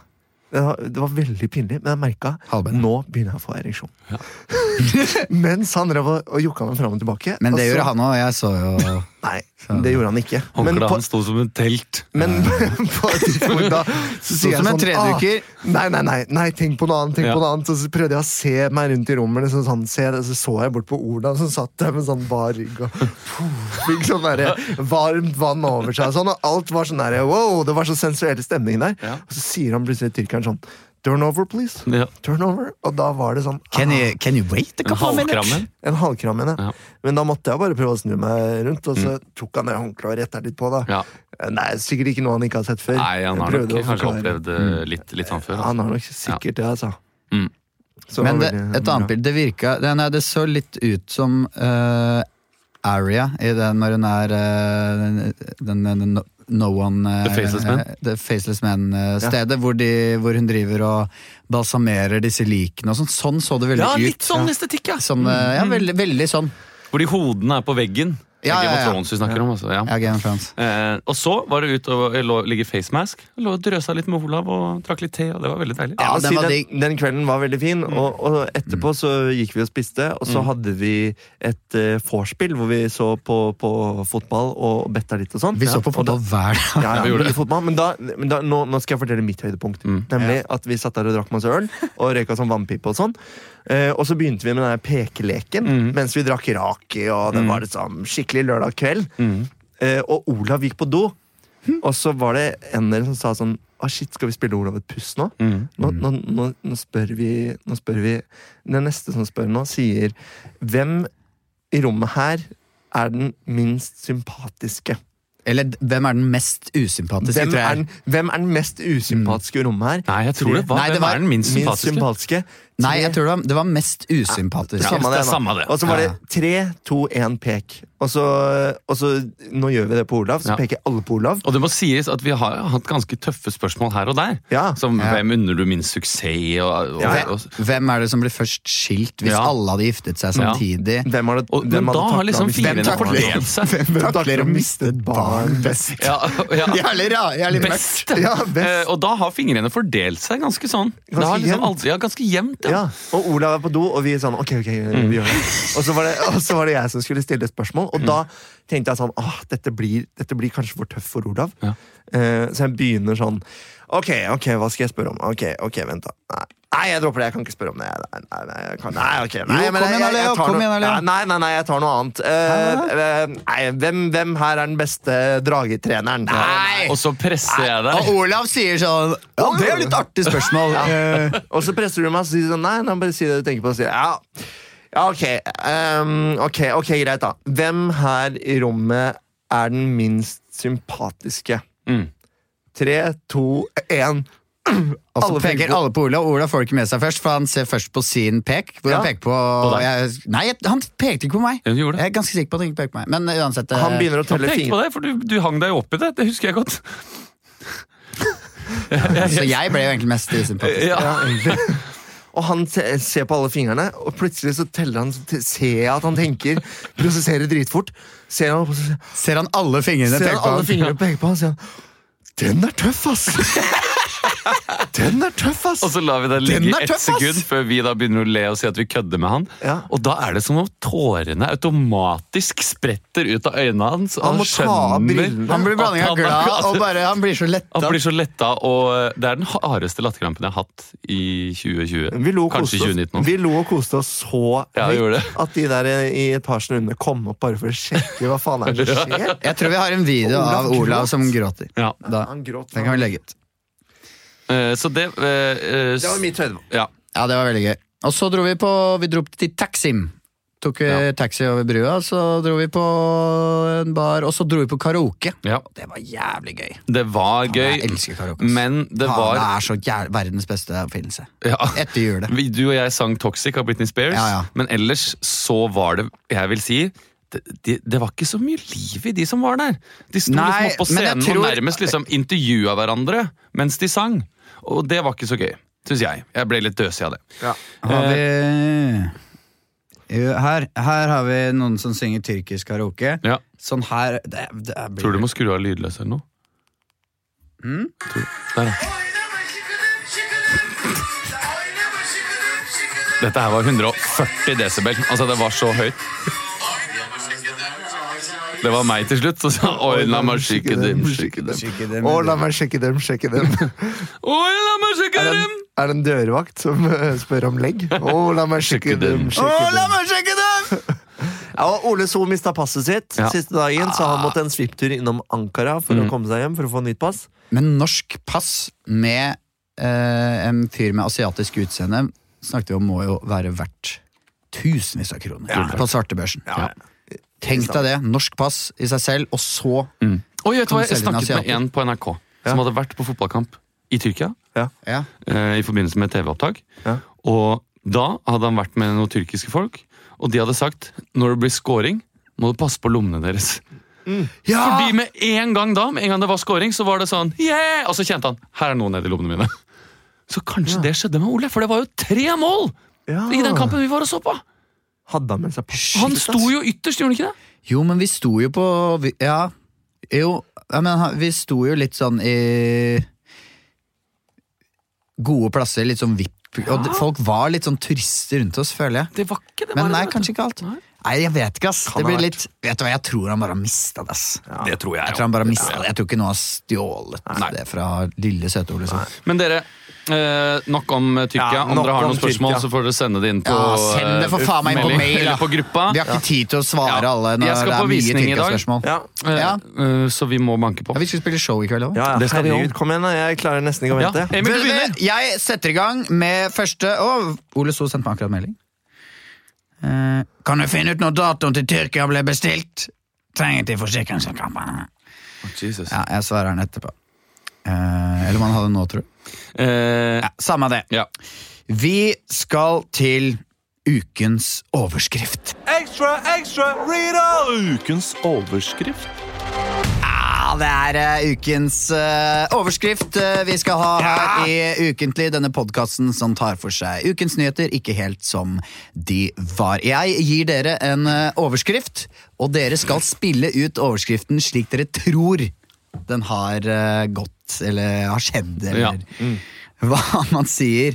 Speaker 2: det var, det var veldig pinlig, men jeg merka
Speaker 3: Halvbenet.
Speaker 2: nå begynner jeg å få ereksjon. Mens han drev og, og jukka meg fram og tilbake.
Speaker 3: Men
Speaker 2: og
Speaker 3: det
Speaker 2: så-
Speaker 3: gjorde han òg, jeg så jo
Speaker 2: Nei, det gjorde han ikke. Men
Speaker 1: Håndkleet
Speaker 2: på,
Speaker 1: hans altså. sto som et telt.
Speaker 2: men på et tidspunkt da Så
Speaker 3: Sånn som en tredukker.
Speaker 2: ah, Nei, nei, nei, nei, tenk på noe annet. tenk
Speaker 1: Ja.
Speaker 2: på noe annet Og så prøvde jeg å se meg rundt i rommet, liksom, sånn, se, det, så så jeg bort på Ola som satt der med sånn bar rygg og puh, fikk sånn derre varmt vann over seg. og Sånn, og alt var sånn derre wow, det var så sensuell stemning der.
Speaker 1: Ja.
Speaker 2: Og så sier han plutselig tyrkeren sånn Turn over, please.
Speaker 1: Ja.
Speaker 2: Turn over. Og da var det sånn
Speaker 3: Can you, can you wait a couple of minutes?
Speaker 1: Halvkrammen.
Speaker 2: en halvkram igjen,
Speaker 1: Ja. Mm.
Speaker 2: ja. Men da måtte jeg bare prøve å snu meg rundt, og så tok han det håndkleet og retta litt på. da. Eh,
Speaker 1: Ja.
Speaker 2: Nei, sikkert ikke noe han ikke har sett før.
Speaker 1: Nei, han
Speaker 2: Jeg
Speaker 1: har
Speaker 2: prøvde
Speaker 1: nok
Speaker 2: å
Speaker 1: kanskje
Speaker 2: forklare.
Speaker 1: opplevd det litt, litt sånn før. altså.
Speaker 2: Han har nok sikkert det, altså.
Speaker 1: Mm.
Speaker 2: Så
Speaker 3: Men det,
Speaker 2: var veldig
Speaker 3: et
Speaker 2: bra.
Speaker 3: annet bilde, det virka det, nei, det så litt ut som eh, Aria i den når hun er eh, den, den, den no, no one eh,
Speaker 1: The Faceless Man?
Speaker 3: eh, The Faceless Man-stedet, hvor, de- hvor hun driver og balsamerer disse likene og sånn. Sånn så det veldig
Speaker 1: Ja,
Speaker 3: ut.
Speaker 1: litt Mm. sånn
Speaker 3: ja.
Speaker 1: estetikk, ja.
Speaker 3: Som, eh, ja, veldig, veldig sånn.
Speaker 1: Fordi hodene er på veggen.
Speaker 3: Ja,
Speaker 1: Det er
Speaker 3: ja,
Speaker 1: Game
Speaker 3: ja.
Speaker 1: of Thrones vi snakker om, altså. Ja.
Speaker 3: Ja, Game of Thrones.
Speaker 1: Eh, og så var det ut og jeg lå, ligge i face mask. Jeg lå og drøsa litt med Olav og drakk litt te, og det var veldig deilig.
Speaker 3: Ja,
Speaker 2: Jeg må
Speaker 3: den
Speaker 2: si
Speaker 3: var
Speaker 2: den,
Speaker 3: digg.
Speaker 2: den kvelden var veldig fin,
Speaker 1: Mm.
Speaker 2: og, og etterpå så gikk vi og spiste. Og så hadde vi et eh, vorspiel hvor vi så på, på fotball og betta litt og sånn.
Speaker 3: Vi så på
Speaker 2: Ja, og da-
Speaker 3: fotball hver dag.
Speaker 2: Ja,
Speaker 1: Vi
Speaker 2: ja,
Speaker 1: gjorde
Speaker 2: mye fotball, men da, men da, nå, nå skal jeg fortelle mitt høydepunkt.
Speaker 1: Mm.
Speaker 2: Nemlig at vi satt der og drakk masse øl og røyka sånn vannpipe. Og sånn eh, Og så begynte vi med den der pekeleken
Speaker 1: Mm.
Speaker 2: mens vi drakk raki. Og det var liksom skikkelig lørdag kveld.
Speaker 1: Mm.
Speaker 2: Eh, og Olav gikk på do, og så var det en del som sa sånn Å, shit, skal vi spille Olav et puss nå?
Speaker 1: Mm.
Speaker 2: Nå, nå, nå, nå, spør vi, nå spør vi Den neste som spør nå, sier Hvem i rommet her er den minst sympatiske?
Speaker 3: Eller d- hvem er den mest usympatiske,
Speaker 2: Hvem
Speaker 3: tror
Speaker 2: er,
Speaker 3: jeg.
Speaker 2: den, hvem er den mest usympatiske i rommet her?
Speaker 1: Nei, jeg tror det var,
Speaker 3: Nei, det
Speaker 1: Hvem
Speaker 3: var
Speaker 1: er den Mm. minst
Speaker 2: Minst
Speaker 1: sympatiske?
Speaker 2: sympatiske.
Speaker 3: Nei, jeg tror det var, det var mest usympatiske.
Speaker 1: Ja.
Speaker 2: Samme
Speaker 1: det er
Speaker 2: da.
Speaker 1: samme det.
Speaker 2: Og så var det
Speaker 3: Ja.
Speaker 2: tre, to, én pek. Og så, og så Nå gjør vi det på Olav, så
Speaker 1: Ja.
Speaker 2: peker alle på Olav.
Speaker 1: Og det må sies at vi har hatt ganske tøffe spørsmål her og der.
Speaker 2: Ja.
Speaker 1: Som
Speaker 3: Ja.
Speaker 1: hvem unner du minst suksess, og, og,
Speaker 2: Ja.
Speaker 1: og,
Speaker 3: Hvem er det som blir først skilt hvis
Speaker 1: Ja.
Speaker 3: alle hadde giftet seg
Speaker 1: Ja.
Speaker 3: samtidig?
Speaker 2: Hvem har det,
Speaker 1: og
Speaker 2: hvem
Speaker 1: Men
Speaker 2: hadde
Speaker 1: da
Speaker 2: taklet
Speaker 1: har liksom
Speaker 2: hvis-
Speaker 3: Hvem
Speaker 1: firene
Speaker 3: takler-
Speaker 1: fordelt seg.
Speaker 2: Hvem takler å miste et barn best?
Speaker 1: Ja, ja.
Speaker 3: Jævlig ra- jævlig mørkt.
Speaker 1: Best.
Speaker 2: Ja,
Speaker 1: Eh,
Speaker 2: best.
Speaker 1: og da har fingrene fordelt seg ganske sånn. Det
Speaker 2: Ganske
Speaker 1: har liksom
Speaker 2: jevnt.
Speaker 1: alt, ja, ganske jevnt. Ja.
Speaker 2: Ja, og Olav er på do, og vi er sånn Ok, ok,
Speaker 3: Mm.
Speaker 2: vi gjør det. Og så var det, og så var det jeg som skulle stille et spørsmål, og da tenkte jeg sånn Åh, dette blir, dette blir kanskje for tøft for Olav.
Speaker 1: Ja.
Speaker 2: Eh, så jeg begynner sånn Ok, ok, hva skal jeg spørre om? Ok, ok, vent, da. Nei. Nei, jeg dropper det. Jeg kan ikke spørre om det. Nei, nei, nei, jeg kan, nei ok. Nei,
Speaker 3: Jo,
Speaker 2: men jeg-
Speaker 3: kom
Speaker 2: jeg-
Speaker 3: igjen,
Speaker 2: jeg
Speaker 3: Leo,
Speaker 2: tar
Speaker 3: kom
Speaker 2: noe-
Speaker 3: igjen, Leo.
Speaker 2: Nei, nei, nei, jeg tar noe annet. Eh, eh, nei, hvem, hvem her er den beste dragetreneren? Nei!
Speaker 1: Og så presser jeg deg.
Speaker 3: Og Olav sier sånn Ja, det er litt artig spørsmål. Eh,
Speaker 2: Og så presser du meg og sier sånn Nei, nei, bare si det du tenker på. Og sier jeg, ja, ja ok, ehm, ok, ok, greit, da. Hvem her i rommet er den minst sympatiske?
Speaker 1: Mm.
Speaker 2: Tre, to, én.
Speaker 3: Og så
Speaker 2: Alle peker
Speaker 3: peker
Speaker 2: på-
Speaker 3: alle Altså, på Olav, og Olav får ikke med seg først, for han ser først på sin pek. Hvor han
Speaker 2: Ja.
Speaker 3: peker på jeg, Nei, jeg- han pekte ikke på meg.
Speaker 1: Ja, du gjorde det.
Speaker 3: Jeg er ganske sikker på at han ikke peker på meg. Men eh, uansett eh,
Speaker 2: Han begynner
Speaker 1: Han
Speaker 2: å telle
Speaker 1: pekte på
Speaker 2: fingre.
Speaker 1: deg, for du, du hang deg jo opp i det. Det husker jeg godt.
Speaker 3: Så jeg ble jo egentlig mest usympatisk.
Speaker 1: Ja.
Speaker 2: Ja, egentlig. Og han se- ser på alle fingrene, og plutselig så teller han, så te- ser jeg at han tenker. Prosesserer dritfort. Ser han, og så-
Speaker 3: Ser han alle fingrene
Speaker 2: ser
Speaker 3: peke
Speaker 2: han
Speaker 3: på
Speaker 2: alle
Speaker 3: han?
Speaker 2: fingrene peker på han, sier han Den er tøff, ass! Den er tøff, ass!
Speaker 1: Og så lar vi deg ligge
Speaker 3: Den
Speaker 1: i
Speaker 3: er
Speaker 1: ett
Speaker 3: tøff, ass!
Speaker 1: sekund før vi da begynner å le og si at vi kødder med han.
Speaker 2: Ja.
Speaker 1: Og da er det som om tårene automatisk spretter ut av øynene hans. og
Speaker 2: Han må ta av
Speaker 1: skjønner
Speaker 2: brillene.
Speaker 3: Han blir blanding
Speaker 1: At
Speaker 3: av
Speaker 1: han-
Speaker 3: glad og bare Han blir så
Speaker 1: Han
Speaker 3: letta.
Speaker 1: blir så letta, og eh, det er den hardeste latterkrampen jeg har hatt i 2020.
Speaker 2: Vi lo, og
Speaker 1: Kanskje
Speaker 2: koste oss,
Speaker 1: 2019 også.
Speaker 2: vi lo og koste oss så
Speaker 1: Ja, vi gjorde
Speaker 2: høyt
Speaker 1: det.
Speaker 2: at de der i etasjen under kom opp bare for å sjekke hva faen er det som skjer.
Speaker 3: Jeg tror vi har en video
Speaker 2: Olav
Speaker 3: av Olav
Speaker 2: gråt.
Speaker 3: som gråter.
Speaker 1: Ja.
Speaker 3: Da.
Speaker 2: Han gråt.
Speaker 3: Den kan vi legge ut.
Speaker 1: Eh, Så det eh, eh, s-
Speaker 2: mitt høydepunkt.
Speaker 1: Ja.
Speaker 3: Ja, det var veldig gøy. Og så dro vi på Vi dro til Taksim. tok vi taxi over brua, så dro vi på en bar, og så dro vi på karaoke.
Speaker 1: Ja.
Speaker 3: Det var jævlig gøy.
Speaker 1: Det var
Speaker 3: Jeg
Speaker 1: gøy,
Speaker 3: elsker karaoke. ass.
Speaker 1: men det
Speaker 3: Faen,
Speaker 1: var
Speaker 3: det er så jæv verdens beste oppfinnelse.
Speaker 1: ja.
Speaker 3: Etter jule.
Speaker 1: Vi- Du og jeg sang Toxic av Britney Spears,
Speaker 3: Ja, ja.
Speaker 1: men ellers så var det, jeg vil si det, det, det var ikke så mye liv i de som var der. De sto
Speaker 3: Nei,
Speaker 1: liksom opp på
Speaker 3: men jeg
Speaker 1: scenen og
Speaker 3: tror-
Speaker 1: nærmest liksom intervjua hverandre mens de sang. Og det var ikke så gøy, syns jeg. Jeg ble litt døsig av det. Eh,
Speaker 3: Har vi Eh, jo, her, her har vi noen som synger tyrkisk karaoke.
Speaker 1: Ja.
Speaker 3: Sånn her det, det blir...
Speaker 1: Tror du må skru av lydløs eller noe? Tror, der, ja. Dette her var 140 desibel. Altså, det var så høyt. Det var meg til slutt. Så sa Oi, la meg sjekke dem, sjekke dem.
Speaker 3: Syke, det-
Speaker 2: Å, la meg sjekke dem, sjekke dem.
Speaker 1: Oi, la meg sjekke
Speaker 2: Er det,
Speaker 1: dem!
Speaker 2: en, er det en dørvakt som eh, spør om legg? Å, la meg sjekke
Speaker 1: Sjekke
Speaker 2: dem,
Speaker 1: dem.
Speaker 3: Å,
Speaker 2: sjekke
Speaker 3: la
Speaker 2: dem.
Speaker 3: meg sjekke dem!
Speaker 2: Ja, og Ole So mista passet sitt
Speaker 1: Ja. Ah. Mm.
Speaker 2: siste dagen, så han måtte en svipptur innom Ankara for å komme seg hjem for å få nytt pass.
Speaker 3: Men norsk pass med eh, en fyr med asiatisk utseende snakket vi om må jo være verdt tusenvis av kroner på svartebørsen. Tenk deg det. Norsk pass i seg selv, og så
Speaker 1: Oi, vet du hva?
Speaker 3: Kan
Speaker 1: Jeg
Speaker 3: selge den
Speaker 1: snakket med
Speaker 3: asiater.
Speaker 1: en på NRK som hadde vært på fotballkamp i Tyrkia.
Speaker 3: ja.
Speaker 1: eh, i forbindelse med TV-opptak.
Speaker 2: Ja.
Speaker 1: Og da hadde han vært med noen tyrkiske folk, og de hadde sagt når det blir scoring, må du passe på lommene deres. Mm. Fordi med en gang da, med en gang det var scoring, så var det sånn yeah! Og så kjente han her er noe nedi lommene mine. Så kanskje det skjedde med Ole, for det var jo tre mål
Speaker 2: Ja.
Speaker 1: i den kampen vi var og så på!
Speaker 2: Hadde han med seg pass?
Speaker 1: Han sto jo ytterst, gjorde han ikke det?
Speaker 3: Jo, men vi sto jo på vi- Ja. Jo, ja, men ha- vi sto jo litt sånn i Gode plasser, litt sånn VIP. Og d- folk var litt sånn turister rundt oss, føler jeg.
Speaker 1: Det var ikke det.
Speaker 3: Men
Speaker 1: var
Speaker 3: nei,
Speaker 1: det, vet du.
Speaker 3: kanskje ikke alt.
Speaker 1: Nei.
Speaker 3: Nei, jeg vet ikke, ass. Det
Speaker 2: ha
Speaker 3: blir
Speaker 2: vært.
Speaker 3: litt Vet du hva, jeg tror han bare har mista det, ass.
Speaker 1: Det tror jeg.
Speaker 3: Jeg tror han bare har mistet
Speaker 1: Ja.
Speaker 3: det. Jeg tror ikke noen har stjålet
Speaker 1: Nei.
Speaker 3: det fra lille søte Ole. Soo.
Speaker 1: Men dere, eh, nok om eh, Tyrkia.
Speaker 2: Ja,
Speaker 1: Om
Speaker 2: nok
Speaker 1: dere har
Speaker 2: om
Speaker 1: noen spørsmål,
Speaker 2: Tyrkia.
Speaker 1: så får dere sende det inn på
Speaker 3: Ja, send det for
Speaker 1: eh,
Speaker 3: faen meg inn på
Speaker 1: melding
Speaker 3: mail, da.
Speaker 1: eller på gruppa.
Speaker 3: Vi har ikke tid til å svare
Speaker 1: Ja.
Speaker 3: alle når
Speaker 1: Jeg skal
Speaker 3: det
Speaker 1: på
Speaker 3: er mye
Speaker 1: visning i dag.
Speaker 3: Tyrkia-spørsmål.
Speaker 2: Ja.
Speaker 1: Eh,
Speaker 3: Ja.
Speaker 1: eh, så vi må banke på.
Speaker 3: Ja, vi skal spille show i kveld òg.
Speaker 2: Ja,
Speaker 1: Det skal vi
Speaker 2: herregud,
Speaker 1: om.
Speaker 2: kom igjen, da. Jeg klarer nesten ikke å
Speaker 1: Ja,
Speaker 2: vente.
Speaker 1: Emil, du begynner!
Speaker 3: eh, Jeg setter i gang med første Å, Ole Soo sendte meg akkurat melding. Eh, kan du finne ut når datoen til Tyrkia ble bestilt? Trenger til forsikringsselskapet.
Speaker 1: Jesus.
Speaker 3: Ja, jeg svarer den etterpå. Eh, eller om han hadde nå, tror du.
Speaker 1: Eh,
Speaker 3: Ja, samme det.
Speaker 1: ja.
Speaker 3: Vi skal til ukens overskrift.
Speaker 2: Ekstra, ekstra, reader!
Speaker 5: Ukens overskrift.
Speaker 3: Ja, det er eh, ukens eh, overskrift eh, vi skal ha her i Ukentlig, denne podkasten som tar for seg ukens nyheter, ikke helt som de var. Jeg gir dere en eh, overskrift, og dere skal spille ut overskriften slik dere tror den har eh, gått, eller har skjedd, eller
Speaker 1: Ja.
Speaker 5: Mm.
Speaker 3: hva man sier.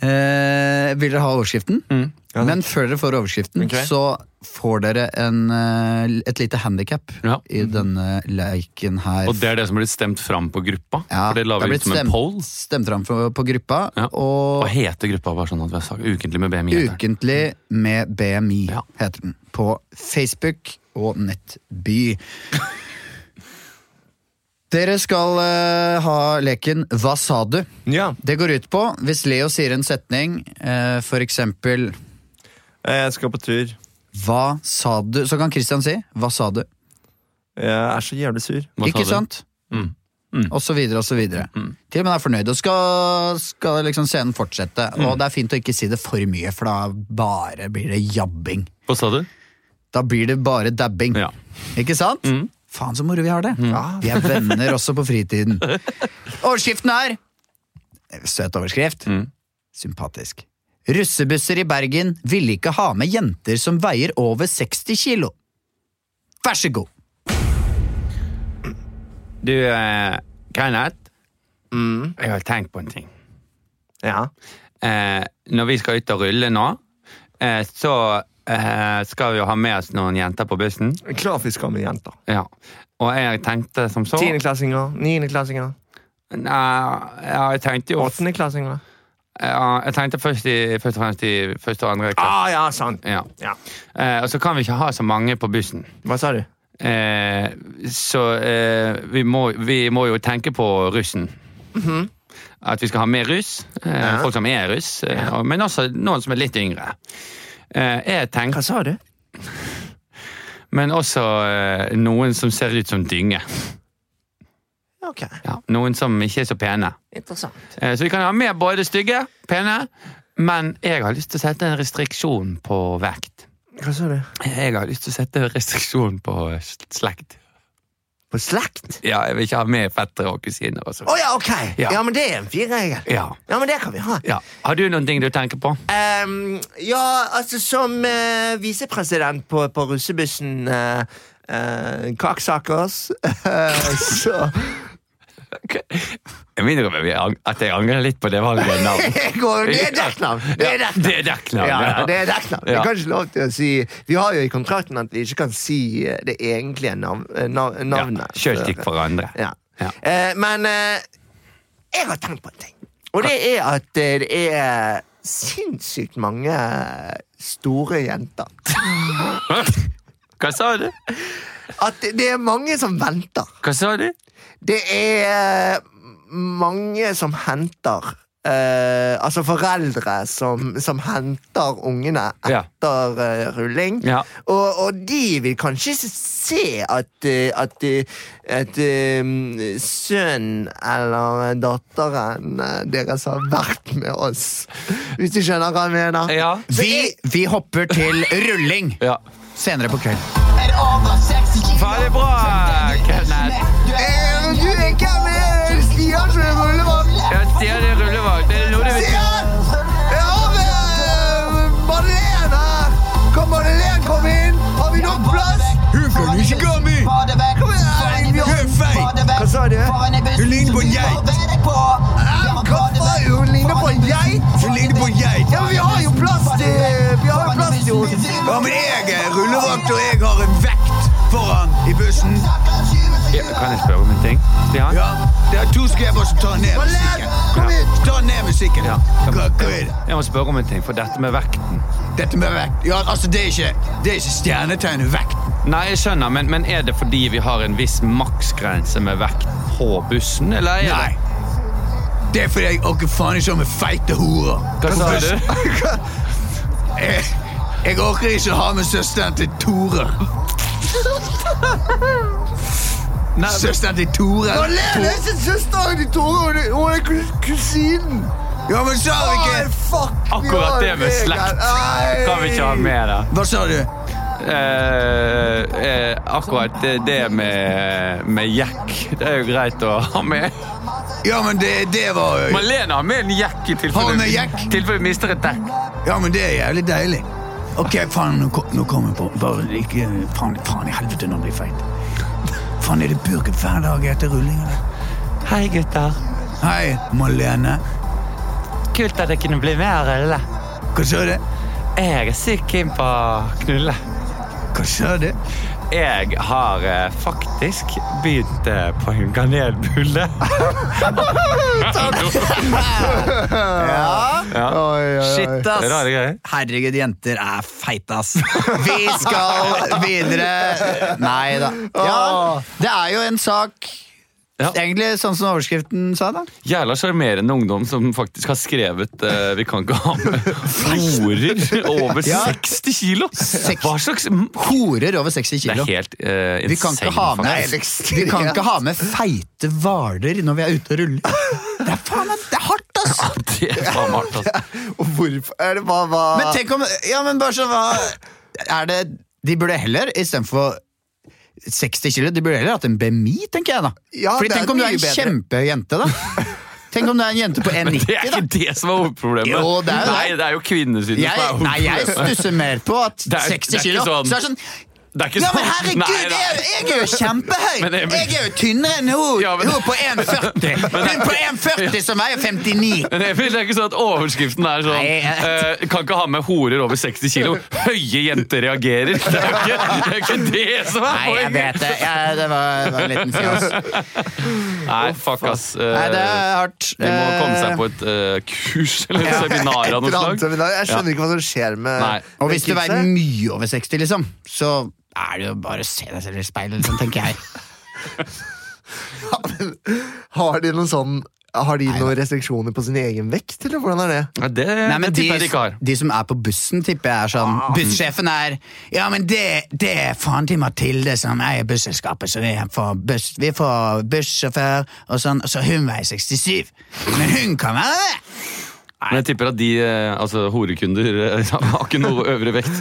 Speaker 3: Eh, vil dere ha overskriften?
Speaker 1: Mm.
Speaker 3: Men før dere får overskriften,
Speaker 2: Ok.
Speaker 3: så får dere en, eh, et lite handikap
Speaker 1: Ja. Mm-hmm.
Speaker 3: i denne leiken her.
Speaker 1: Og det er det som blir stemt fram på gruppa?
Speaker 3: Ja,
Speaker 1: for det lager vi
Speaker 3: blitt
Speaker 1: ut som en
Speaker 3: stemt-
Speaker 1: poll?
Speaker 3: Stemt fram for- på gruppa,
Speaker 1: Ja. Hva
Speaker 3: og
Speaker 1: heter gruppa? bare sånn at vi har sagt Ukentlig med BMI? heter den.
Speaker 3: Ukentlig med BMI
Speaker 1: Ja.
Speaker 3: heter den. På Facebook og Nettby. Dere skal eh, ha leken Hva sa du?
Speaker 2: Ja.
Speaker 3: Det går ut på, hvis Leo sier en setning, eh, for eksempel
Speaker 2: eh, Jeg skal på tur.
Speaker 3: Hva sa du? Så kan Christian si Hva sa du?
Speaker 2: Jeg Eh, er så jævlig sur.
Speaker 1: Hva sa
Speaker 3: ikke
Speaker 1: du?
Speaker 3: sant?
Speaker 1: Mm.
Speaker 3: Og så videre og så videre. Til og med han er fornøyd, og skal, skal liksom scenen fortsette.
Speaker 1: Mm.
Speaker 3: Og det er fint å ikke si det for mye, for da bare blir det jabbing.
Speaker 1: Hva sa du?
Speaker 3: Da blir det bare dabbing.
Speaker 1: Ja. Mm.
Speaker 3: Ikke sant? Faen så moro vi har det. Vi er venner også på fritiden. Overskriften er Søt overskrift.
Speaker 1: Mm.
Speaker 3: Sympatisk. Russebusser i Bergen ville ikke ha med jenter som veier over 60 kilo. Vær så god.
Speaker 1: Du, eh, Kenneth. Jeg har tenkt på en ting.
Speaker 2: Ja.
Speaker 1: Eh, når vi skal ut og rulle nå, eh, så eh, skal vi jo ha med oss noen jenter på bussen.
Speaker 2: Klarfiska med jenter.
Speaker 1: Ja. Og jeg tenkte som så
Speaker 2: Tiendeklassinger, niendeklassinger,
Speaker 1: Nei, ja, jeg tenkte jo
Speaker 2: åttendeklassinger.
Speaker 1: ja, Jeg tenkte først, i, først og fremst i første og andre klasse.
Speaker 2: Ah, ja, sant.
Speaker 1: Ja.
Speaker 2: Ja.
Speaker 1: Eh, og så kan vi ikke ha så mange på bussen.
Speaker 2: Hva sa du?
Speaker 1: Eh, så eh, vi, må, vi må jo tenke på russen. At vi skal ha mer russ. Eh, Folk som er russ. Eh, og- Men også noen som er litt yngre. Eh, jeg tenker,
Speaker 2: sa du?
Speaker 1: men også eh, noen som ser ut som dynge.
Speaker 2: Ok,
Speaker 1: Ja, noen som ikke er så pene.
Speaker 2: interessant.
Speaker 1: Eh, så vi kan ha med både stygge, pene, men jeg har lyst til å sette en restriksjon på vekt.
Speaker 2: Hva sa du?
Speaker 1: Jeg har lyst til å sette en restriksjon på s- slekt.
Speaker 2: På slekt?
Speaker 1: Ja, jeg vil ikke ha med fettere og kusiner og
Speaker 2: Å
Speaker 1: sånn.
Speaker 2: ja, ok!
Speaker 1: Ja.
Speaker 2: Ja. men det er en finregel.
Speaker 1: Ja,
Speaker 2: Ja, men det kan vi ha.
Speaker 1: ja. Har du noen ting du tenker på?
Speaker 2: Ehm, ja, altså som eh, visepresident på, på russebussen uh, Kaksakers eh, Så
Speaker 1: Jeg minner om at jeg angrer litt på det valget av navn.
Speaker 2: det går- det er dekknavn! Det er dekknavn.
Speaker 1: Det er dekknavn,
Speaker 2: Ja, ja, det
Speaker 1: ja.
Speaker 2: er dekknavn.
Speaker 1: Ja.
Speaker 2: Vi kan ikke lov til å si Vi har jo i kontrakten at vi ikke kan si eh, det egentlige nav, eh, nav,
Speaker 1: Ja,
Speaker 2: navnet.
Speaker 1: Kjøltikk for andre.
Speaker 2: Ja.
Speaker 1: Ja.
Speaker 2: Eh, men eh, jeg har tenkt på en ting. Og det er at eh, det er sinnssykt mange eh, store jenter.
Speaker 1: Hva sa du?
Speaker 2: At det- det er mange som venter.
Speaker 1: Hva sa du?
Speaker 2: Det er eh, mange som henter. eh, altså foreldre som, som henter ungene
Speaker 1: Ja.
Speaker 2: etter eh, rulling.
Speaker 1: Ja.
Speaker 2: Og, og de vil kanskje ikke se at, eh, at, eh, at eh, sønnen eller datteren eh, deres har vært med oss. Hvis du skjønner hva jeg mener.
Speaker 1: Ja.
Speaker 2: Så
Speaker 3: Vi,
Speaker 2: jeg,
Speaker 3: vi hopper til rulling
Speaker 1: Ja.
Speaker 3: senere på kvelden.
Speaker 1: Faen, det er bra, Kenneth.
Speaker 2: Eh, du er ikke med Stian som er rullemann.
Speaker 1: Ja, Stian er rullevakt. Det er noe du vil
Speaker 2: Stian! Jeg har med eh, Madeleine her. Kan Madeleine komme inn? Har vi nok plass?
Speaker 3: Hun kan ikke komme!
Speaker 2: Kom igjen, Erling. vi har- Hva sa er du?
Speaker 3: Hun ligner på en geit!
Speaker 2: Eh, Hva faen? Hun ligner på en geit.
Speaker 3: Hun ligner på en geit!
Speaker 2: Ja, men vi har jo plass til Vi har jo plass til henne.
Speaker 3: Ja, men jeg er rullevakt, og jeg har en vekt foran i bussen.
Speaker 1: ja, Kan jeg spørre om en ting? Stian?
Speaker 3: Ja, det er to skrever som tar ned musikken.
Speaker 2: Kom hit!
Speaker 3: Ta ned musikken.
Speaker 1: Ja.
Speaker 3: Hva, hva er det?
Speaker 1: Jeg må spørre om en ting, for dette med vekten
Speaker 3: Dette med vekt. Ja, altså, det er ikke, det er ikke stjernetegnet vekt.
Speaker 1: Nei, jeg skjønner, men, men er det fordi vi har en viss maksgrense med vekt på bussen, eller er
Speaker 3: Nei. Det er fordi jeg orker faen ikke med feite horer.
Speaker 1: det Hva sa du?
Speaker 3: Jeg, jeg orker ikke ha med søsteren til Tore.
Speaker 1: Nei,
Speaker 3: Søsteren til Tore.
Speaker 2: Madeleine er ikke søsteren til Tore. Hun er- Hun er kus- kusinen.
Speaker 3: Ja, men sa vi
Speaker 2: Nei,
Speaker 3: ikke
Speaker 2: fuck. vi
Speaker 1: Akkurat
Speaker 2: har en
Speaker 1: det med
Speaker 2: regel.
Speaker 1: slekt.
Speaker 2: Nei.
Speaker 1: kan vi ikke ha med det?
Speaker 3: Hva sa du?
Speaker 1: Eh, eh, akkurat det- det med, med jekk, det er jo greit å ha med.
Speaker 3: Ja, men det, det var jo
Speaker 1: Malene har med en jekk i
Speaker 3: Har
Speaker 1: tilfelle
Speaker 3: hun med jekk?
Speaker 1: tilfelle vi mister et dekk.
Speaker 3: Ja, men det er jævlig deilig. Ok, faen, nå, kom- nå kom jeg på Bare ikke Faen, faen i helvete, nå blir jeg feit. Faen, er det burger hver dag etter rulling? eller?
Speaker 1: Hei, gutter.
Speaker 3: Hei, Malene.
Speaker 1: Kult at jeg kunne bli med her, Rulle.
Speaker 3: Hva sa du?
Speaker 1: Jeg er sykt keen på å knulle.
Speaker 3: Hva sa du?
Speaker 1: Jeg har eh, faktisk begynt eh, på en kanelbulle.
Speaker 4: Oi, oi, oi.
Speaker 3: Shit,
Speaker 1: Det er
Speaker 3: ass.
Speaker 1: rare greier.
Speaker 3: Herregud, jenter er feite, ass. Vi skal videre. Nei da. Ja, det er jo en sak
Speaker 1: Ja.
Speaker 3: Egentlig sånn som overskriften sa, da.
Speaker 1: Jævla sjarmerende ungdom som faktisk har skrevet eh, 'Vi kan ikke ha med horer over
Speaker 3: Ja.
Speaker 1: 60 kilo'.
Speaker 3: Seks-
Speaker 1: Hva slags m-
Speaker 3: Horer over 60
Speaker 1: Det er
Speaker 3: kilo.
Speaker 1: helt eh, insane.
Speaker 3: Vi kan, ikke ha
Speaker 1: faktisk.
Speaker 3: med, vi kan ikke ha med feite hvaler når vi er ute og ruller. Det er faen meg det er hardt, ass!
Speaker 1: Det er faen meg hardt, altså.
Speaker 2: Og Hvorfor? Er det bare, bare...
Speaker 3: Men tenk om Ja, men bare så hva Er det De burde heller, istedenfor 60 kilo, de burde heller hatt en BMI, tenker jeg, da.
Speaker 2: Ja,
Speaker 3: Fordi
Speaker 2: det er
Speaker 3: tenk om du er
Speaker 2: mye
Speaker 3: en
Speaker 2: bedre.
Speaker 3: kjempehøy jente, da. Tenk om du er en jente på
Speaker 1: Men det er
Speaker 3: 1,90, da.
Speaker 1: ikke det som er hovedproblemet.
Speaker 3: Jo, det er jo det.
Speaker 1: Nei, det er jo kvinnesynet som er
Speaker 3: Jeg, nei, jeg
Speaker 1: hovedproblemet.
Speaker 3: stusser mer på at
Speaker 1: Det er-
Speaker 3: 60
Speaker 1: det er ikke
Speaker 3: kilo
Speaker 1: sånn.
Speaker 3: Så er det sånn
Speaker 1: Det er ikke
Speaker 3: ja,
Speaker 1: sånn.
Speaker 3: men herregud,
Speaker 1: Nei, nei.
Speaker 3: Jeg, jeg er jo kjempehøy!
Speaker 1: Men det-
Speaker 3: jeg er jo tynnere enn hun,
Speaker 1: Ja, men-
Speaker 3: hun på 1,40! Hun på 1,40 som er jo 59!
Speaker 1: Men Emil, det er ikke sånn at overskriften er sånn
Speaker 3: Nei, jeg-
Speaker 1: eh, 'Kan ikke ha med horer over 60 kilo'. Høye jenter reagerer. Det er jo ikke det, er ikke det som er
Speaker 3: Nei, jeg vet det. Jeg, det var, var en liten fjas.
Speaker 1: Nei, fuck, ass. Eh,
Speaker 3: Nei, det er hardt.
Speaker 1: De må komme seg på et eh, kurs eller et seminar av
Speaker 2: Et
Speaker 1: noe
Speaker 2: eller
Speaker 1: slag.
Speaker 2: annet seminar. Jeg
Speaker 1: Ja.
Speaker 2: skjønner ikke hva som skjer med
Speaker 1: Nei.
Speaker 3: Eh, Og hvis du
Speaker 2: med
Speaker 3: veier
Speaker 2: kidsa.
Speaker 3: mye over 60, liksom, så er det jo bare å se deg selv i speilet, liksom, tenker jeg.
Speaker 2: Har de noen sånn Har de noen restriksjoner på sin egen vekt, eller hvordan er det?
Speaker 1: Nei, det
Speaker 3: Nei, men de,
Speaker 1: tipper jeg de ikke har. Ah.
Speaker 3: de som er på bussen, tipper jeg er sånn Bussjefen er Ja, men det, det er faren til Mathilde som eier busselskapet, så vi får, buss, vi får bussjåfør og sånn, og så hun veier 67. Men hun kan være det!
Speaker 1: Men jeg tipper at de, eh, altså horekunder, eh, har ikke noe øvre vekt.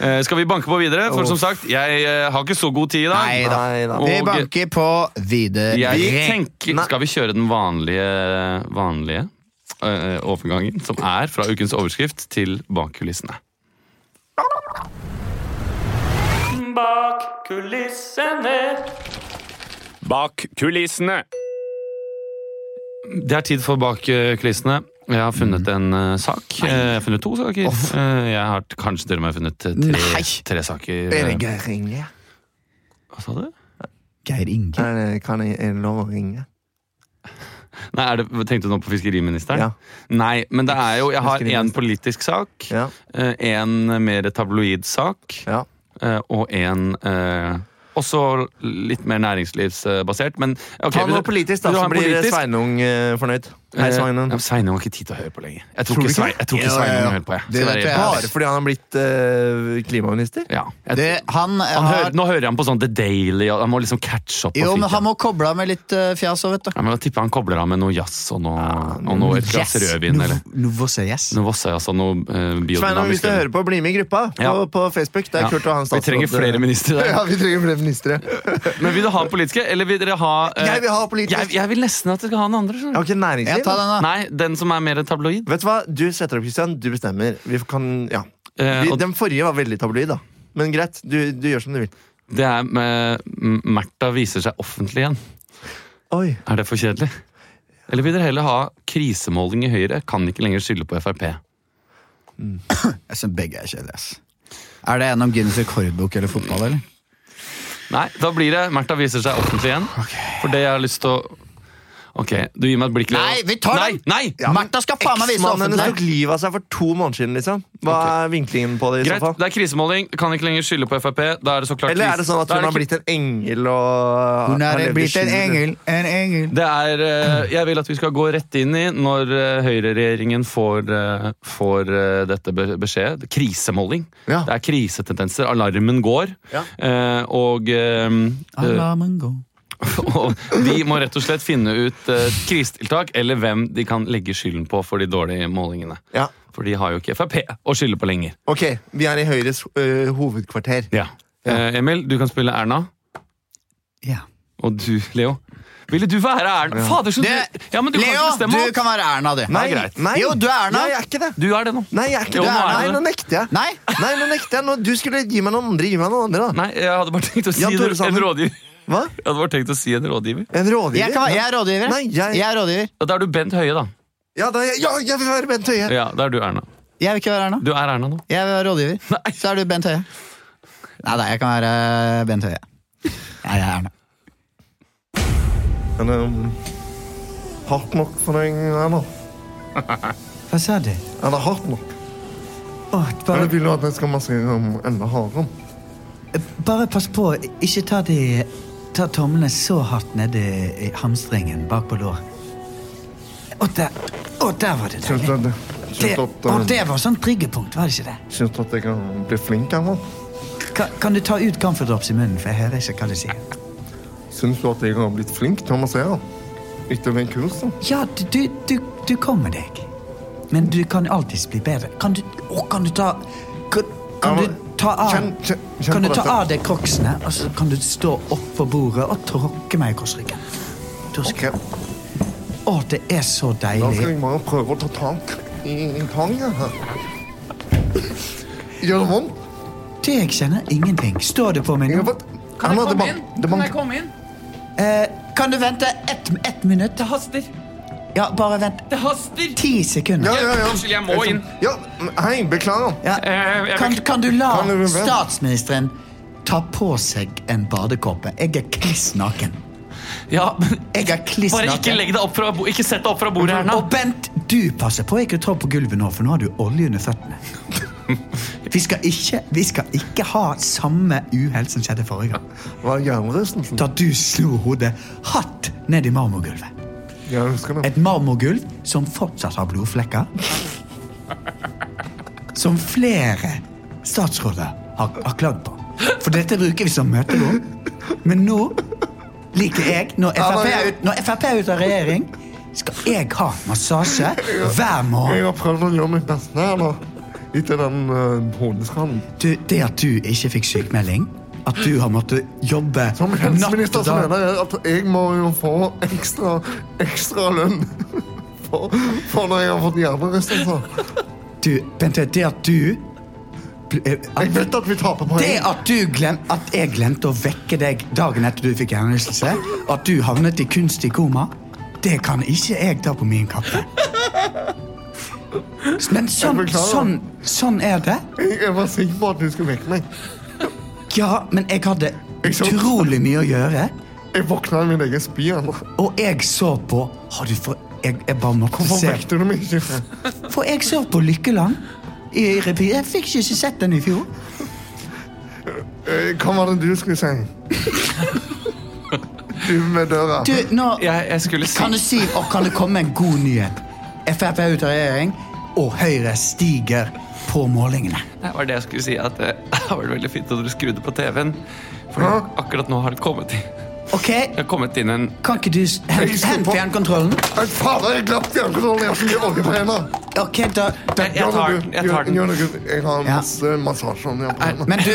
Speaker 1: Eh, Skal vi banke på videre? For som sagt, jeg eh, har ikke så god tid i dag.
Speaker 3: Nei da.
Speaker 2: Nei da.
Speaker 3: Vi
Speaker 1: Og-
Speaker 3: banker på videre.
Speaker 1: Jeg tenker,
Speaker 2: Nei.
Speaker 1: Skal vi kjøre den vanlige, vanlige eh, overgangen, som er fra ukens overskrift til bakkulissene?
Speaker 6: Bak kulissene.
Speaker 5: Bak kulissene.
Speaker 1: Det er tid for bak eh, kulissene. Jeg har funnet en eh, sak. Eh, Jeg har funnet to saker. Eh, jeg har t- kanskje til og med funnet eh,
Speaker 3: Nei.
Speaker 1: tre, tre saker.
Speaker 2: Er det gøy å ringe?
Speaker 1: Hva sa du?
Speaker 3: Geir Inge.
Speaker 2: Er det, kan jeg, er det lov å ringe?
Speaker 1: Nei, er det, Tenkte du nå på fiskeriministeren?
Speaker 2: Ja.
Speaker 1: Nei, men det er jo Jeg har én
Speaker 2: Fiskeriminister.
Speaker 1: politisk sak,
Speaker 2: Ja.
Speaker 1: eh, en mer tabloid sak
Speaker 2: ja.
Speaker 1: eh, og en eh, også litt mer næringslivsbasert. Men ok,
Speaker 2: Ta
Speaker 1: vil
Speaker 2: noe
Speaker 1: du-
Speaker 2: politisk, da,
Speaker 1: vil du
Speaker 2: så
Speaker 1: ha en
Speaker 2: blir
Speaker 1: politisk?
Speaker 2: Sveinung eh, fornøyd. Hei,
Speaker 1: Eh,
Speaker 2: Sveinung.
Speaker 1: ja, men Sveinung har ikke tid til å høre på lenger. Jeg tror
Speaker 2: Tror du
Speaker 1: ikke
Speaker 2: ikke
Speaker 1: Svein- jeg tror ikke
Speaker 3: Jo, jo,
Speaker 1: Sveinung
Speaker 3: jo.
Speaker 1: hører på. Jeg.
Speaker 3: Det
Speaker 1: Skal
Speaker 3: vet
Speaker 1: være
Speaker 3: jeg.
Speaker 1: ærlig.
Speaker 2: Bare fordi han har blitt eh, klimaminister?
Speaker 1: Ja. Jeg,
Speaker 3: Det, han,
Speaker 1: han
Speaker 3: har,
Speaker 1: hører, nå hører jeg han på sånn The Daily, og han må liksom catch up. på
Speaker 3: Jo, men
Speaker 1: fritiden.
Speaker 3: han må koble av med litt eh, fjas òg, vet du.
Speaker 1: ja, men jeg tipper han kobler av med noe jazz og noe, og noe et glass rødvin. Eller noe Vossa-jazz og noe eh,
Speaker 2: Sveinung, hvis
Speaker 1: biodynamisk.
Speaker 2: du hører på, bli med i gruppa på,
Speaker 1: Ja.
Speaker 2: på Facebook. Det
Speaker 1: Ja.
Speaker 2: er kult å ha en
Speaker 1: Vi
Speaker 2: statsråd. eh,
Speaker 1: trenger flere ministre der.
Speaker 2: Ja, vi trenger flere ministre.
Speaker 1: Men vil du ha politiske, eller vil dere ha eh,
Speaker 2: Jeg vil ha politisk.
Speaker 1: Jeg, jeg vil nesten at dere skal ha den andre. skjønner du.
Speaker 2: Ok,
Speaker 3: Ja,
Speaker 2: næringsliv.
Speaker 3: ta den, da.
Speaker 1: Nei, den som er mer tabloid.
Speaker 2: Vet du hva? Du setter opp, Kristian. Du bestemmer. Vi kan, ja.
Speaker 1: Eh,
Speaker 2: vi,
Speaker 1: og-
Speaker 2: den forrige var veldig tabloid, da. Men greit, du, du gjør som du vil.
Speaker 1: Det er med M- Märtha viser seg offentlig igjen.
Speaker 2: Oi.
Speaker 1: Er det for kjedelig? Eller vil dere heller ha krisemåling i Høyre? Kan ikke lenger skylde på Frp.
Speaker 3: Jeg syns begge er kjedelige. ass. Er det en om Guinness rekordbok eller fotball, eller?
Speaker 1: Nei, da blir det Märtha viser seg offentlig igjen. For det jeg har lyst til å Ok, du gir meg et blikk. Leo.
Speaker 3: Nei, vi tar
Speaker 1: nei,
Speaker 3: den!
Speaker 1: Nei!
Speaker 3: Martha skal faen meg vise
Speaker 2: Eksmannen hennes tok
Speaker 3: offentlig!
Speaker 2: livet av seg for to måneder siden. liksom Hva er vinklingen på det? i
Speaker 1: Greit,
Speaker 2: så fall?
Speaker 1: det er krisemåling. Kan ikke lenger skylde på Frp. Da er det så klart
Speaker 2: Eller er det
Speaker 1: krise-
Speaker 2: sånn at
Speaker 1: da
Speaker 2: hun
Speaker 1: det
Speaker 2: har
Speaker 1: kri-
Speaker 2: blitt en engel og
Speaker 3: Hun
Speaker 2: har
Speaker 3: er
Speaker 2: levd i
Speaker 3: blitt en
Speaker 2: skjul?
Speaker 3: engel, en engel.
Speaker 1: Det er, eh, jeg vil at vi skal gå rett inn i når eh, høyreregjeringen får, eh, får eh, dette be- beskjed. Krisemåling.
Speaker 2: Ja.
Speaker 1: Det er krisetendenser. Alarmen går. Eh, og, eh, eh,
Speaker 3: Alarmen går.
Speaker 1: og de må rett og slett finne ut eh, krisetiltak, eller hvem de kan legge skylden på for de dårlige målingene.
Speaker 2: Ja.
Speaker 1: For de har jo ikke Frp å skylde på lenger.
Speaker 2: Ok, vi er i Høyres øh, hovedkvarter.
Speaker 1: Eh, Emil, du kan spille Erna.
Speaker 3: Ja.
Speaker 1: Og du, Leo. Ville du være Erna? Fader, så du,
Speaker 3: Det-
Speaker 1: ja, men du kan
Speaker 3: Leo,
Speaker 1: ikke bestemme.
Speaker 3: du
Speaker 1: alt.
Speaker 3: kan være Erna, du.
Speaker 2: Nei,
Speaker 1: greit.
Speaker 2: nei.
Speaker 3: Jo, du er Erna.
Speaker 2: Nei, jeg er ikke det.
Speaker 1: Du er det nå.
Speaker 2: Nei, jeg er
Speaker 1: Jo,
Speaker 2: ikke det.
Speaker 1: nå er
Speaker 2: Nei,
Speaker 1: du
Speaker 2: nå
Speaker 1: det.
Speaker 2: nekter jeg.
Speaker 3: Nei?
Speaker 2: Nei, nå nekter jeg. Nå, du skulle gi meg noen andre. Gi meg noen andre, da.
Speaker 1: Nei, jeg hadde bare tenkt å si
Speaker 2: Jan Tore
Speaker 1: det- en
Speaker 2: Sanner.
Speaker 1: rådgiver.
Speaker 2: Hva?
Speaker 1: Jeg hadde bare tenkt å si en rådgiver.
Speaker 2: En rådgiver?
Speaker 3: Jeg, kan være, jeg er rådgiver.
Speaker 2: Nei, jeg-
Speaker 3: jeg er rådgiver.
Speaker 1: Ja, Da er du Bent Høie, da.
Speaker 2: Ja, da, ja, jeg vil være Bent Høie.
Speaker 1: Ja, da er du Erna.
Speaker 3: Jeg vil ikke være Erna.
Speaker 1: Du er Erna nå.
Speaker 3: Jeg vil være rådgiver.
Speaker 1: Nei.
Speaker 3: Så er du Bent Høie. Nei, nei, jeg kan være eh, Bent Høie. Ja, jeg er Erna.
Speaker 2: Men ehm, hardt nok for deg, Erna.
Speaker 3: Hva sa du?
Speaker 2: Ja, det er hardt nok. Men jeg vil jo at jeg skal masse um, enda hardere.
Speaker 3: Bare pass på, ikke ta, de, ta tomlene så hardt nedi i hamstringen bak på lår. Og der, og der var det
Speaker 4: Syns
Speaker 3: deilig.
Speaker 4: at,
Speaker 3: Det,
Speaker 4: syns at,
Speaker 3: og det
Speaker 4: eh,
Speaker 3: var sånn triggerpunkt, var det ikke det?
Speaker 4: syns at jeg kan bli flink, Erna?
Speaker 3: Kan, kan du ta ut camphor drops i munnen, for jeg hører ikke hva du sier?
Speaker 4: Syns du at jeg har blitt flink til å massere? Etter den kursen?
Speaker 3: Ja, du, du, du, du kommer deg. Men du kan alltids bli bedre. Kan du, å, kan du ta kan,
Speaker 4: Ja,
Speaker 3: kan
Speaker 4: men-
Speaker 3: du ta av
Speaker 4: Kjenn- kjenn- kjenn
Speaker 3: Kan du
Speaker 4: på
Speaker 3: ta
Speaker 4: dette.
Speaker 3: av deg crocsene, og så kan du stå oppå bordet og tråkke meg i korsryggen? Da skal-
Speaker 4: Ok,
Speaker 3: Å, det er så
Speaker 4: Da skal
Speaker 3: deilig.
Speaker 4: jeg bare prøve å ta tak i i tangen her. Gjør det vondt?
Speaker 3: Det jeg kjenner ingenting. Står det på meg
Speaker 4: Jeg
Speaker 3: nå?
Speaker 4: vet- Erna, det ban- det banker.
Speaker 6: komme inn?
Speaker 3: Eh, kan du vente ett ett minutt? Det haster. Ja, bare vent. Det haster. Ti
Speaker 4: Ja,
Speaker 3: sekunder.
Speaker 4: ja, ja.
Speaker 1: Unnskyld, jeg må inn.
Speaker 4: Ja, men hei, beklager.
Speaker 3: Ja.
Speaker 1: Eh, jeg
Speaker 3: Kan, kan du la
Speaker 4: Kan du vente?
Speaker 3: statsministeren ta på seg en badekåpe? Jeg er kliss naken.
Speaker 1: Ja, men
Speaker 3: Jeg er kliss
Speaker 1: Bare ikke
Speaker 3: naken.
Speaker 1: legg deg opp fra, bo- ikke sett deg opp fra bordet,
Speaker 3: Og
Speaker 1: Erna.
Speaker 3: Bent, du passer på ikke å trå på gulvet nå, for nå har du olje under føttene. Vi skal ikke, vi skal ikke ha samme uhell som skjedde forrige gang.
Speaker 4: Hva er hjernerystelsen?
Speaker 3: da du slo hodet hardt ned i marmorgulvet.
Speaker 7: Ja, jeg husker det.
Speaker 3: Et marmorgulv som fortsatt har blodflekker. Som flere statsråder har, har klagd på. For dette bruker vi som møterom. Men nå liker jeg, når Frp er, ut, når FRP er ute av regjering, skal jeg ha massasje hver morgen.
Speaker 2: Jeg har prøvd å gjøre mitt beste her nå. Ikke den uh, hodeskallen.
Speaker 3: Du, det at du ikke fikk sykemelding, at du har måttet jobbe
Speaker 2: Som helseminister så
Speaker 3: dag-
Speaker 2: mener jeg at jeg må jo få ekstra, ekstra lønn for, for når jeg har fått hjernerystelser.
Speaker 3: Du, Bent Høie, det at du ble- eh,
Speaker 2: Jeg
Speaker 3: at,
Speaker 2: vet at vi taper poeng.
Speaker 3: Det at, du glem, at jeg glemte å vekke deg dagen etter du fikk hjernerystelse, og at du havnet i kunstig koma, det kan ikke jeg ta på min kappe. Men sånn,
Speaker 2: Jeg beklager.
Speaker 3: sånn, sånn er det.
Speaker 2: Jeg, jeg var sikker på at du skulle vekke meg.
Speaker 3: Ja, men jeg hadde
Speaker 2: Jeg så-
Speaker 3: utrolig mye å gjøre,
Speaker 2: Jeg våkna i min egen spy. Anna.
Speaker 3: og jeg så på Har du for... Jeg, jeg bare måtte
Speaker 2: Hvorfor
Speaker 3: se.
Speaker 2: vekte du meg ikke?
Speaker 3: For jeg så på Lykkeland i revy. Jeg fikk ikke sett den i fjor.
Speaker 2: Eh, Hva var det du skulle si? Du med døra.
Speaker 3: Du, nå...
Speaker 1: Jeg, jeg skulle si
Speaker 3: Kan du si, og kan det komme en god nyhet? Frp er ute av regjering, og Høyre stiger på målingene.
Speaker 1: Det var det jeg skulle si, at eh, det har vært veldig fint at dere skrudde på TV-en. For
Speaker 2: Hæ?
Speaker 1: akkurat nå har det kommet inn,
Speaker 3: Ok,
Speaker 1: det har kommet inn en
Speaker 3: kan ikke du s- hent,
Speaker 2: Jeg står
Speaker 3: hent
Speaker 2: på.
Speaker 3: fjernkontrollen?
Speaker 2: Nei, Fader, jeg glapp fjernkontrollen! Jeg har så mye olje på hendene!
Speaker 3: Ok, da, da
Speaker 1: Jeg tar den. jeg tar den.
Speaker 2: Gjør noe, gutt. jeg har
Speaker 3: Ja.
Speaker 2: masse massasjeolje på hendene.
Speaker 3: Men du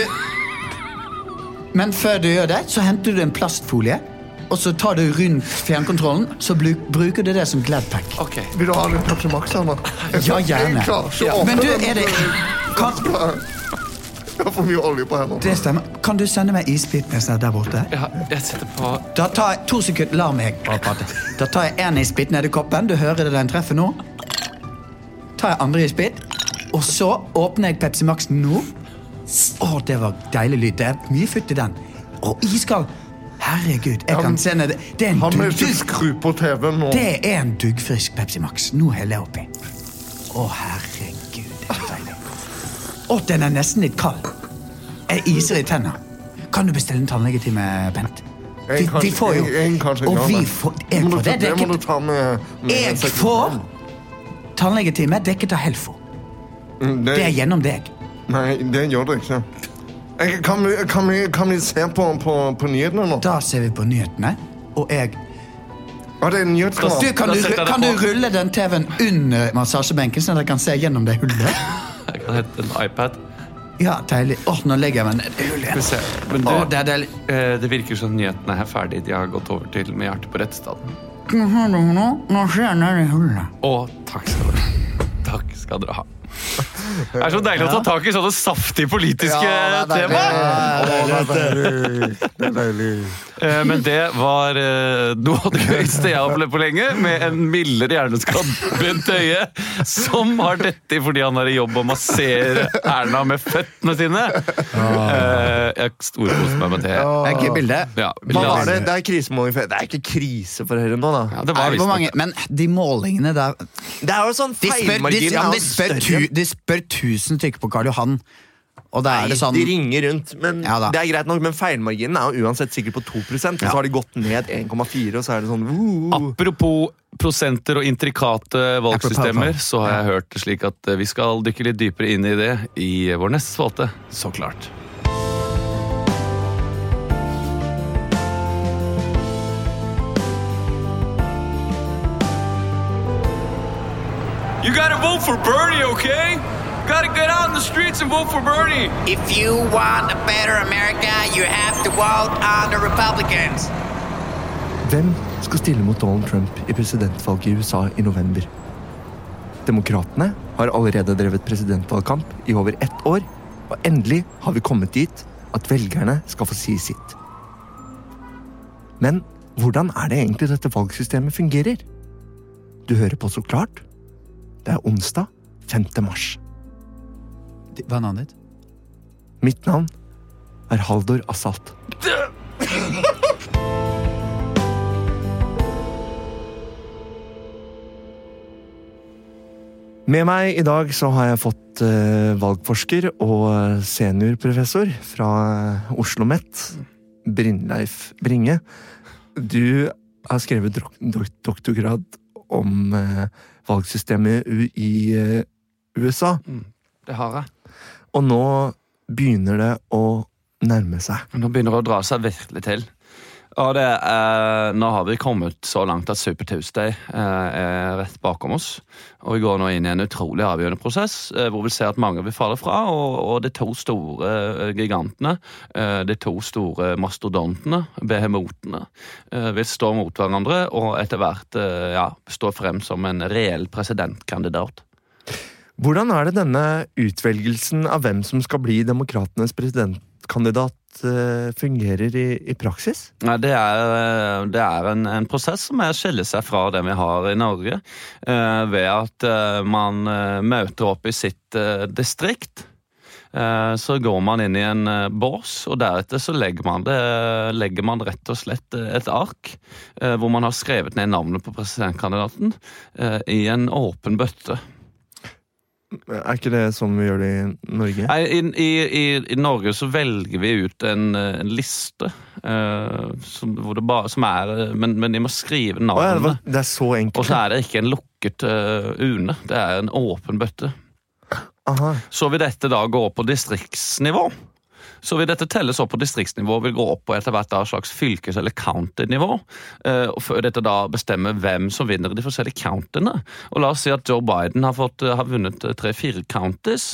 Speaker 3: Men før du gjør det, så henter du en plastfolie, og så tar du rundt fjernkontrollen, så blu, bruker du det som Gladpack.
Speaker 1: Ok.
Speaker 2: Vil du ha litt Pepsi Max, Anna? Jeg-
Speaker 3: Ja, gjerne.
Speaker 2: Jeg klarer ikke å åpne
Speaker 3: Men du,
Speaker 2: den.
Speaker 3: er det kan,
Speaker 2: Jeg har for mye olje på hendene.
Speaker 3: Det stemmer. Kan du sende meg ispipene som er der borte?
Speaker 1: Ja, jeg setter på
Speaker 3: Da tar jeg to sekunder, la meg bare prate. Da tar jeg en isbit ned i koppen, du hører det den treffer nå. Tar jeg andre isbit, og så åpner jeg Pepsi Max nå. Å, det var deilig lyd. Det er mye futt i den. Og iskald. Herregud, jeg kan se ned. Det er en
Speaker 2: Han vil ikke
Speaker 3: duggfrisk,
Speaker 2: skru på TV-en nå.
Speaker 3: det er en duggfrisk Pepsi Max. Nå heller jeg oppi. Å, herregud, det er deilig. Å, den er nesten litt kald. Jeg iser i tenna. Kan du bestille en tannlegetime, Bent?
Speaker 2: Jeg
Speaker 3: Vi,
Speaker 2: kan
Speaker 3: vi
Speaker 2: ikke-
Speaker 3: får jo
Speaker 2: jeg- jeg kan ikke
Speaker 3: Og
Speaker 2: gjøre
Speaker 3: vi
Speaker 2: det.
Speaker 3: får Jeg
Speaker 2: Må du
Speaker 3: får
Speaker 2: ta-
Speaker 3: det
Speaker 2: det må du
Speaker 3: dekket.
Speaker 2: ta med, med
Speaker 3: Jeg
Speaker 2: sekretæren.
Speaker 3: får tannlegetime dekket av Helfo.
Speaker 2: Mm, det,
Speaker 3: Det er gjennom deg.
Speaker 2: Nei, det gjør det ikke. Jeg, kan, vi, kan, vi, kan vi se på, på, på nyhetene nå?
Speaker 3: Da ser vi på nyhetene, og jeg
Speaker 2: Ja, det er nyhetskanal.
Speaker 3: Du, kan
Speaker 1: Da
Speaker 3: du,
Speaker 1: setter jeg det
Speaker 3: kan du
Speaker 1: på.
Speaker 3: rulle den TV-en under massasjebenken, sånn at jeg kan se gjennom det hullet?
Speaker 1: Jeg kan hente en iPad.
Speaker 3: Ja, deilig. Åh, nå legger jeg meg ned i
Speaker 1: Skal vi
Speaker 3: hullet igjen.
Speaker 1: se. Men du,
Speaker 3: Å, det er deilig.
Speaker 1: eh, det virker som nyhetene er ferdig. De har gått over til med hjertet på rett stand.
Speaker 3: Nå ser du nå. Nå ser jeg ned i hullet.
Speaker 1: Og takk skal dere ha. Takk skal dere ha. Det er så deilig å ta tak i sånne saftige politiske temaer.
Speaker 2: Det er deilig.
Speaker 1: Eh, Men det var eh, noe av det gøyeste jeg har opplevd på lenge, med en mildere hjerneskadd Bent Høie, som har dette fordi han er i jobb og masserer Erna med føttene sine. Eh, Jeg storkoste meg med det.
Speaker 8: Jeg gir bildet.
Speaker 1: Ja,
Speaker 7: Hva var
Speaker 1: la-
Speaker 7: det? Det er krisemåling for Det er ikke krise for Høyre nå, da.
Speaker 1: Ja, det var
Speaker 8: Er det hvor
Speaker 1: visst
Speaker 8: mange,
Speaker 1: nok-
Speaker 8: men de målingene der
Speaker 7: Det er jo sånn
Speaker 8: De spør, de,
Speaker 7: feilmargin
Speaker 8: ja,
Speaker 7: er
Speaker 8: men
Speaker 7: jo
Speaker 8: de, spør tu,
Speaker 7: større.
Speaker 8: de spør 1000 stykker på Karl Johan, og da er det sånn
Speaker 7: De ringer rundt, men
Speaker 8: Ja da.
Speaker 7: det er greit nok. Men feilmarginen er jo uansett sikkert på 2 og så har de gått ned 1,4, og så er det sånn uh,
Speaker 1: Apropos prosenter og intrikate valgsystemer,
Speaker 8: Apropos,
Speaker 1: så har jeg hørt det slik at eh, vi skal dykke litt dypere inn i det i vår neste spalte. Så klart.
Speaker 9: You gotta vote for Bernie, okay? Gotta get out in the streets and vote for Bernie.
Speaker 10: If you want a better America, you have to vote on the Republicans.
Speaker 7: Hvem skal stille mot Donald Trump i presidentvalget i USA i november? Demokratene har allerede drevet presidentvalgkamp i over ett år, og endelig har vi kommet dit at velgerne skal få si sitt. Men hvordan er det egentlig dette valgsystemet fungerer? Du hører på Så klart. Det er onsdag 5. mars.
Speaker 8: Hva er navnet ditt?
Speaker 7: Mitt navn er Haldor Assalt. Med meg i dag så har jeg fått eh, valgforsker og eh, seniorprofessor eh, fra Oslo OsloMet, Brynleif Bringe. Du
Speaker 2: har skrevet dok dok doktorgrad om eh, valgsystemet u i eh, USA.
Speaker 1: Det har jeg.
Speaker 2: Og nå begynner det å nærme seg.
Speaker 1: Nå begynner det å dra seg virkelig til. Og det, eh, nå har vi kommet så langt at Super Tuesday eh, er rett bakom oss. Og vi går nå inn i en utrolig avgjørende prosess, eh, hvor vi ser at mange vil falle fra. Og, og de to store eh, gigantene, eh, de to store mastodontene, behemotene, eh, vil stå mot hverandre og etter hvert eh, ja, stå frem som en reell presidentkandidat.
Speaker 2: Hvordan er det denne utvelgelsen av hvem som skal bli demokratenes presidentkandidat, eh, fungerer i, i praksis?
Speaker 1: Nei, det er, eh, det er en, en prosess som er å skille seg fra det vi har i Norge, eh, ved at eh, man eh, møter opp i sitt eh, distrikt. Eh, så går man inn i en eh, bås, og deretter så legger man, det, legger man rett og slett eh, et ark eh, hvor man har skrevet ned navnet på presidentkandidaten eh, i en åpen bøtte.
Speaker 2: Er ikke det sånn vi gjør det i Norge?
Speaker 1: Nei, i, i, i, I Norge så velger vi ut en, eh, en liste eh, som, hvor det bare, som er eh, men, men de må skrive
Speaker 2: Å ja, det, var,
Speaker 1: navnene.
Speaker 2: det er så
Speaker 1: Og
Speaker 2: enkelt.
Speaker 1: så er det ikke en lukket eh, UNE, det er en åpen bøtte.
Speaker 2: Aha.
Speaker 1: Så vil dette da gå opp på distriktsnivå. Så vil dette telles opp på distriktsnivå, vil gå opp på etter hvert da et slags fylkes- eller county-nivå. eh, og Før dette da bestemmer hvem som vinner i de forskjellige countyene. Og la oss si at Joe Biden har, fått, eh, har vunnet eh, tre-fire counties.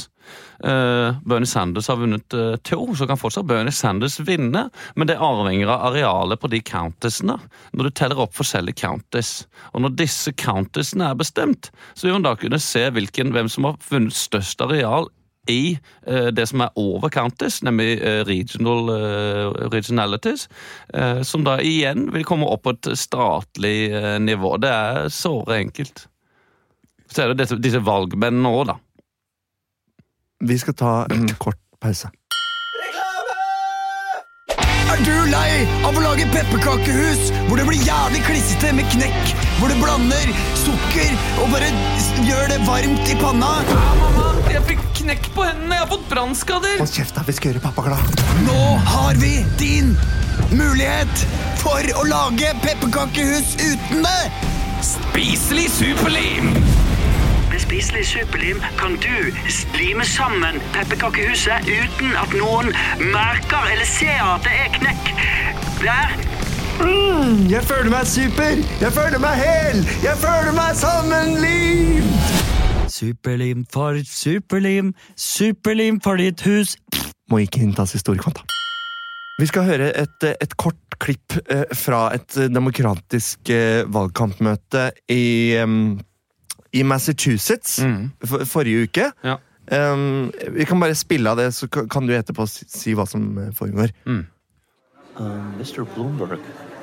Speaker 1: Eh, Bernie Sanders har vunnet eh, to, så kan fortsatt Bernie Sanders vinne. Men det avhenger av arealet på de countiesene, når du teller opp forskjellige counties. Og når disse countiesene er bestemt, så vil man da kunne se hvilken, hvem som har vunnet størst areal i eh, det som er over counties, nemlig eh, regional, eh, regionalities, eh, som da igjen vil komme opp på et statlig eh, nivå. Det er såre enkelt. Så er det disse, disse valgmennene òg, da.
Speaker 2: Vi skal ta en kort pause.
Speaker 11: Er du lei av å lage pepperkakehus hvor det blir jævlig klissete med knekk? Hvor du blander sukker og bare s- gjør det varmt i panna?
Speaker 5: Jeg fikk knekk på hendene. Jeg har fått brannskader.
Speaker 2: Hold kjeft, da. Vi skal gjøre pappa glad.
Speaker 11: Nå har vi din mulighet for å lage pepperkakehus uten det!
Speaker 5: Spiselig superlim.
Speaker 12: Med spiselig superlim kan du slime sammen pepperkakehuset uten at noen merker eller ser at det er knekk. Der.
Speaker 2: Jeg føler meg super! Jeg føler meg hel! Jeg føler meg sammenlimt!
Speaker 11: Superlim for superlim, superlim for ditt hus.
Speaker 2: Må ikke inntas i store kvanta. Vi skal høre et, eh, et kort klipp eh, fra et eh, demokratisk eh, valgkampmøte i, em, i Massachusetts for, forrige uke.
Speaker 1: Ja.
Speaker 2: Em, vi kan bare spille av det, så ka- kan du etterpå si, si hva som eh, foregår.
Speaker 13: Mr. Bloomberg.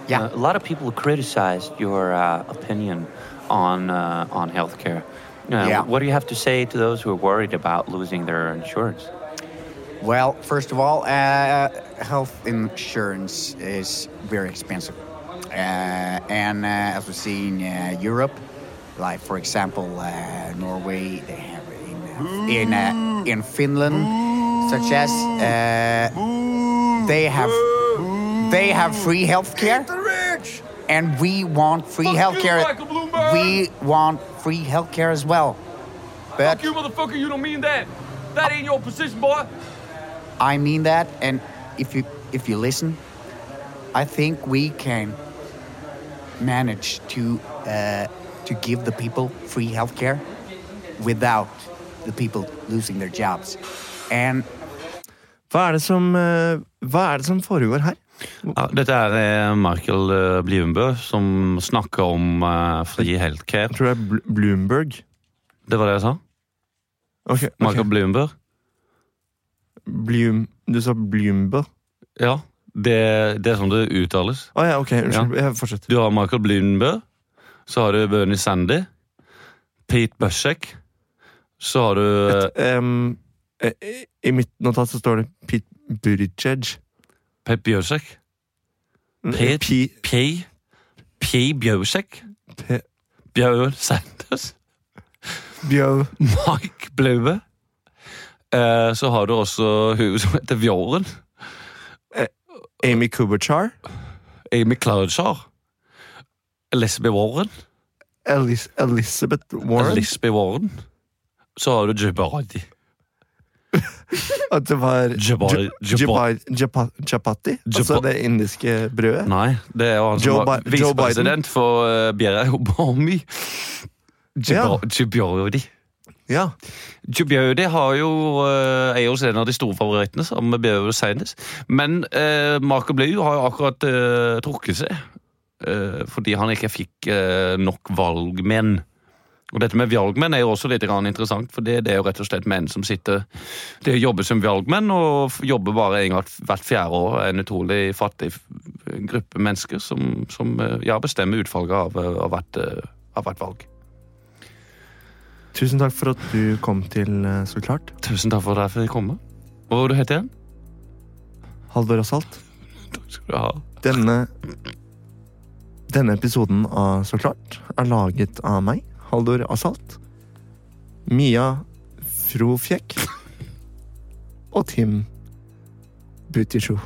Speaker 3: Yeah.
Speaker 13: uh, a lot of people criticized your uh, opinion on uh, on healthcare. Uh,
Speaker 3: Yeah.
Speaker 13: What do you have to say to those who are worried about losing their insurance?
Speaker 3: Well, first of all, uh, health insurance is very expensive. Uh, and uh, as we see in uh, Europe, like for example, uh, Norway, they have it in, uh, in, uh, in Finland, such as uh, they have they have free healthcare. And we want free
Speaker 5: Fuck you,
Speaker 3: healthcare.
Speaker 5: Michael Bloomberg.
Speaker 3: We want free healthcare as well.
Speaker 5: Fuck
Speaker 3: But
Speaker 5: you, motherfucker. You don't mean that. That ain't your position, boy.
Speaker 3: I mean that, and if you if you listen, I think we can manage to uh, to give the people free healthcare without the people losing their jobs. And
Speaker 2: Hva er det som, eh, hva er det som foregår her?
Speaker 1: Ja, dette er eh, Michael eh, Bliumbø som snakker om eh, fri healthcare.
Speaker 2: Jeg tror det er Bl Bloomberg.
Speaker 1: Det var det jeg sa?
Speaker 2: Ok, ok.
Speaker 1: Michael Bliumbø?
Speaker 2: Bloom, du sa Bloomberg.
Speaker 1: Ja. Det, det er sånn det uttales.
Speaker 2: Å ja, ok. Unnskyld. Ja. Fortsett.
Speaker 1: Du har Michael Bliumbø. Så har du Bernie Sandy. Pete Bushek. Så har du eh,
Speaker 2: Em, eh, I mitt notat så står det Pete Buttigieg.
Speaker 1: Pep Bjørsek. Pete
Speaker 2: Mm, P-
Speaker 1: P. P. Bjørsek.
Speaker 2: P-
Speaker 1: Bjørn Sanders.
Speaker 2: Bjørn.
Speaker 1: Mike Blaube. Eh, så har du også hun som heter Bjørn.
Speaker 2: Amy Kubachar.
Speaker 1: Amy Klobuchar.
Speaker 7: Elizabeth Warren.
Speaker 2: Elis Elizabeth Warren?
Speaker 7: Elizabeth Warren. Så har du Jabadi.
Speaker 2: At det var
Speaker 7: Jabari-
Speaker 2: Ja- Jabari- Japa- Chapati? Altså
Speaker 7: Japa-
Speaker 2: det indiske brødet?
Speaker 7: Nei, det var han
Speaker 2: Joe
Speaker 7: som var
Speaker 2: Bi- Joe Biden?
Speaker 7: visepresident for uh, Bjerre Obami.
Speaker 2: Ja.
Speaker 7: Djibjordi.
Speaker 2: Ja.
Speaker 7: Djibjordi har jo, eh, er jo også en av de store favorittene, sammen med Bjerre Seinis. Men uh, Marco Blu har jo akkurat eh, trukket seg, eh, fordi han ikke fikk eh, nok valgmenn. Og dette med valgmenn er jo også litt grann interessant, for det, det er jo rett og slett menn som sitter Det jobber som valgmenn, og f- jobber bare en gang hvert fjerde år. En utrolig fattig f- gruppe mennesker som, som eh, ja, bestemmer utfallet av, eh, av, hvert, eh, av hvert valg.
Speaker 2: Tusen takk for at du kom til, eh, så klart.
Speaker 7: Tusen takk for at jeg fikk komme. Hva var det du het igjen?
Speaker 2: Halvor Asalt.
Speaker 7: Skal du ha?
Speaker 2: Denne Denne episoden av Så klart er laget av meg, Haldor Asalt, Mia Frofjekk og Tim Butisjo.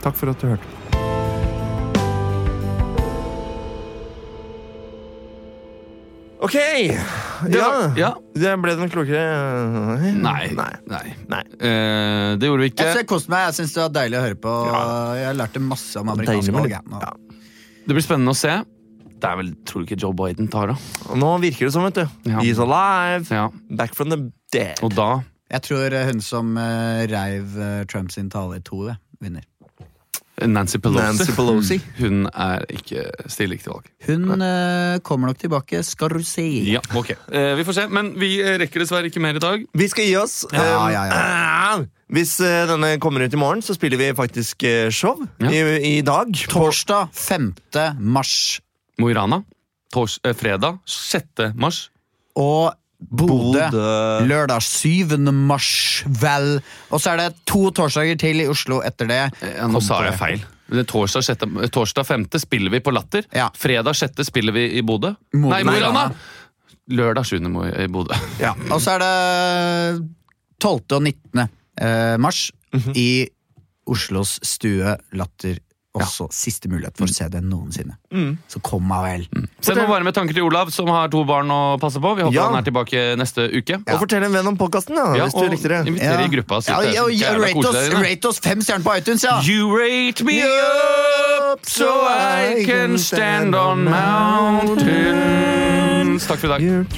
Speaker 2: Takk for at du hørte. Ok! Ja, det ble den klokere. eh,
Speaker 1: Nei. Nei. Eh, det gjorde vi ikke.
Speaker 3: Jeg, synes jeg koste meg. Jeg syns det var deilig å høre på. Jeg lærte masse om
Speaker 1: Deilig
Speaker 3: amerikansk
Speaker 1: med
Speaker 3: valg.
Speaker 1: litt-
Speaker 3: jeg, nå.
Speaker 1: Det blir spennende å se. Det er vel, tror du ikke Joe Biden tar det?
Speaker 2: Nå virker det sånn, vet du. He's alive. Back from the dead.
Speaker 1: Og da
Speaker 3: Jeg tror hun som eh, reiv eh, Trump sin tale i to, jeg, vinner.
Speaker 1: Nancy Pelosi.
Speaker 3: Nancy Pelosi.
Speaker 1: Hun er ikke stiller ikke til valg.
Speaker 3: Hun eh, kommer nok tilbake, skal du se.
Speaker 1: Ja, ok. Eh, vi får se, men vi eh, rekker dessverre ikke mer i dag.
Speaker 2: Vi skal gi oss.
Speaker 1: Ja,
Speaker 2: Um,
Speaker 1: ja,
Speaker 2: eh, Hvis eh, denne kommer ut i morgen, så spiller vi faktisk eh, show i, i dag.
Speaker 3: Torsdag 5. mars.
Speaker 1: Mo i Rana. Tors, eh, fredag 6. mars.
Speaker 3: Og Bodø.
Speaker 1: Bodø.
Speaker 3: Lørdag 7. mars, vel. Og så er det to torsdager til i Oslo etter det.
Speaker 1: Ja, Eh, nå sa jeg feil. Det er Torsdag, sjette, eh, torsdag 5. spiller vi på Latter. Fredag 6. spiller vi i Bodø.
Speaker 3: Mo-
Speaker 1: Nei, Mo
Speaker 3: Nei,
Speaker 1: i Rana!
Speaker 3: Rana.
Speaker 1: Lørdag 7. Mo i i Bodø.
Speaker 3: Og så er det 12. og 19. eh, mars
Speaker 1: Mhm.
Speaker 3: i Oslos Stue Latter. Også siste mulighet for å se det noensinne.
Speaker 1: Mm.
Speaker 3: Så kom meg vel.
Speaker 1: Send noen varme tanker til Olav, som har to barn å passe på. Vi håper
Speaker 3: Ja.
Speaker 1: han er tilbake neste uke.
Speaker 2: Og fortell en venn om podkasten, da,
Speaker 1: Ja,
Speaker 2: hvis du
Speaker 1: og
Speaker 2: likte det.
Speaker 1: inviter i gruppa. så
Speaker 3: Ja,
Speaker 1: det er
Speaker 3: ja,
Speaker 1: så
Speaker 3: ja,
Speaker 1: jævla
Speaker 3: rate,
Speaker 1: koselig
Speaker 3: oss,
Speaker 1: der inne.
Speaker 3: rate oss fem stjerner på iTunes, ja!
Speaker 1: You rate me up so I can stand on mountains. Takk for i dag.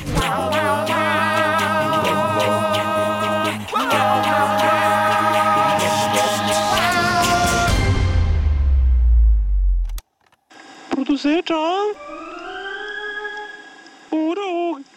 Speaker 6: Produsert av Ord og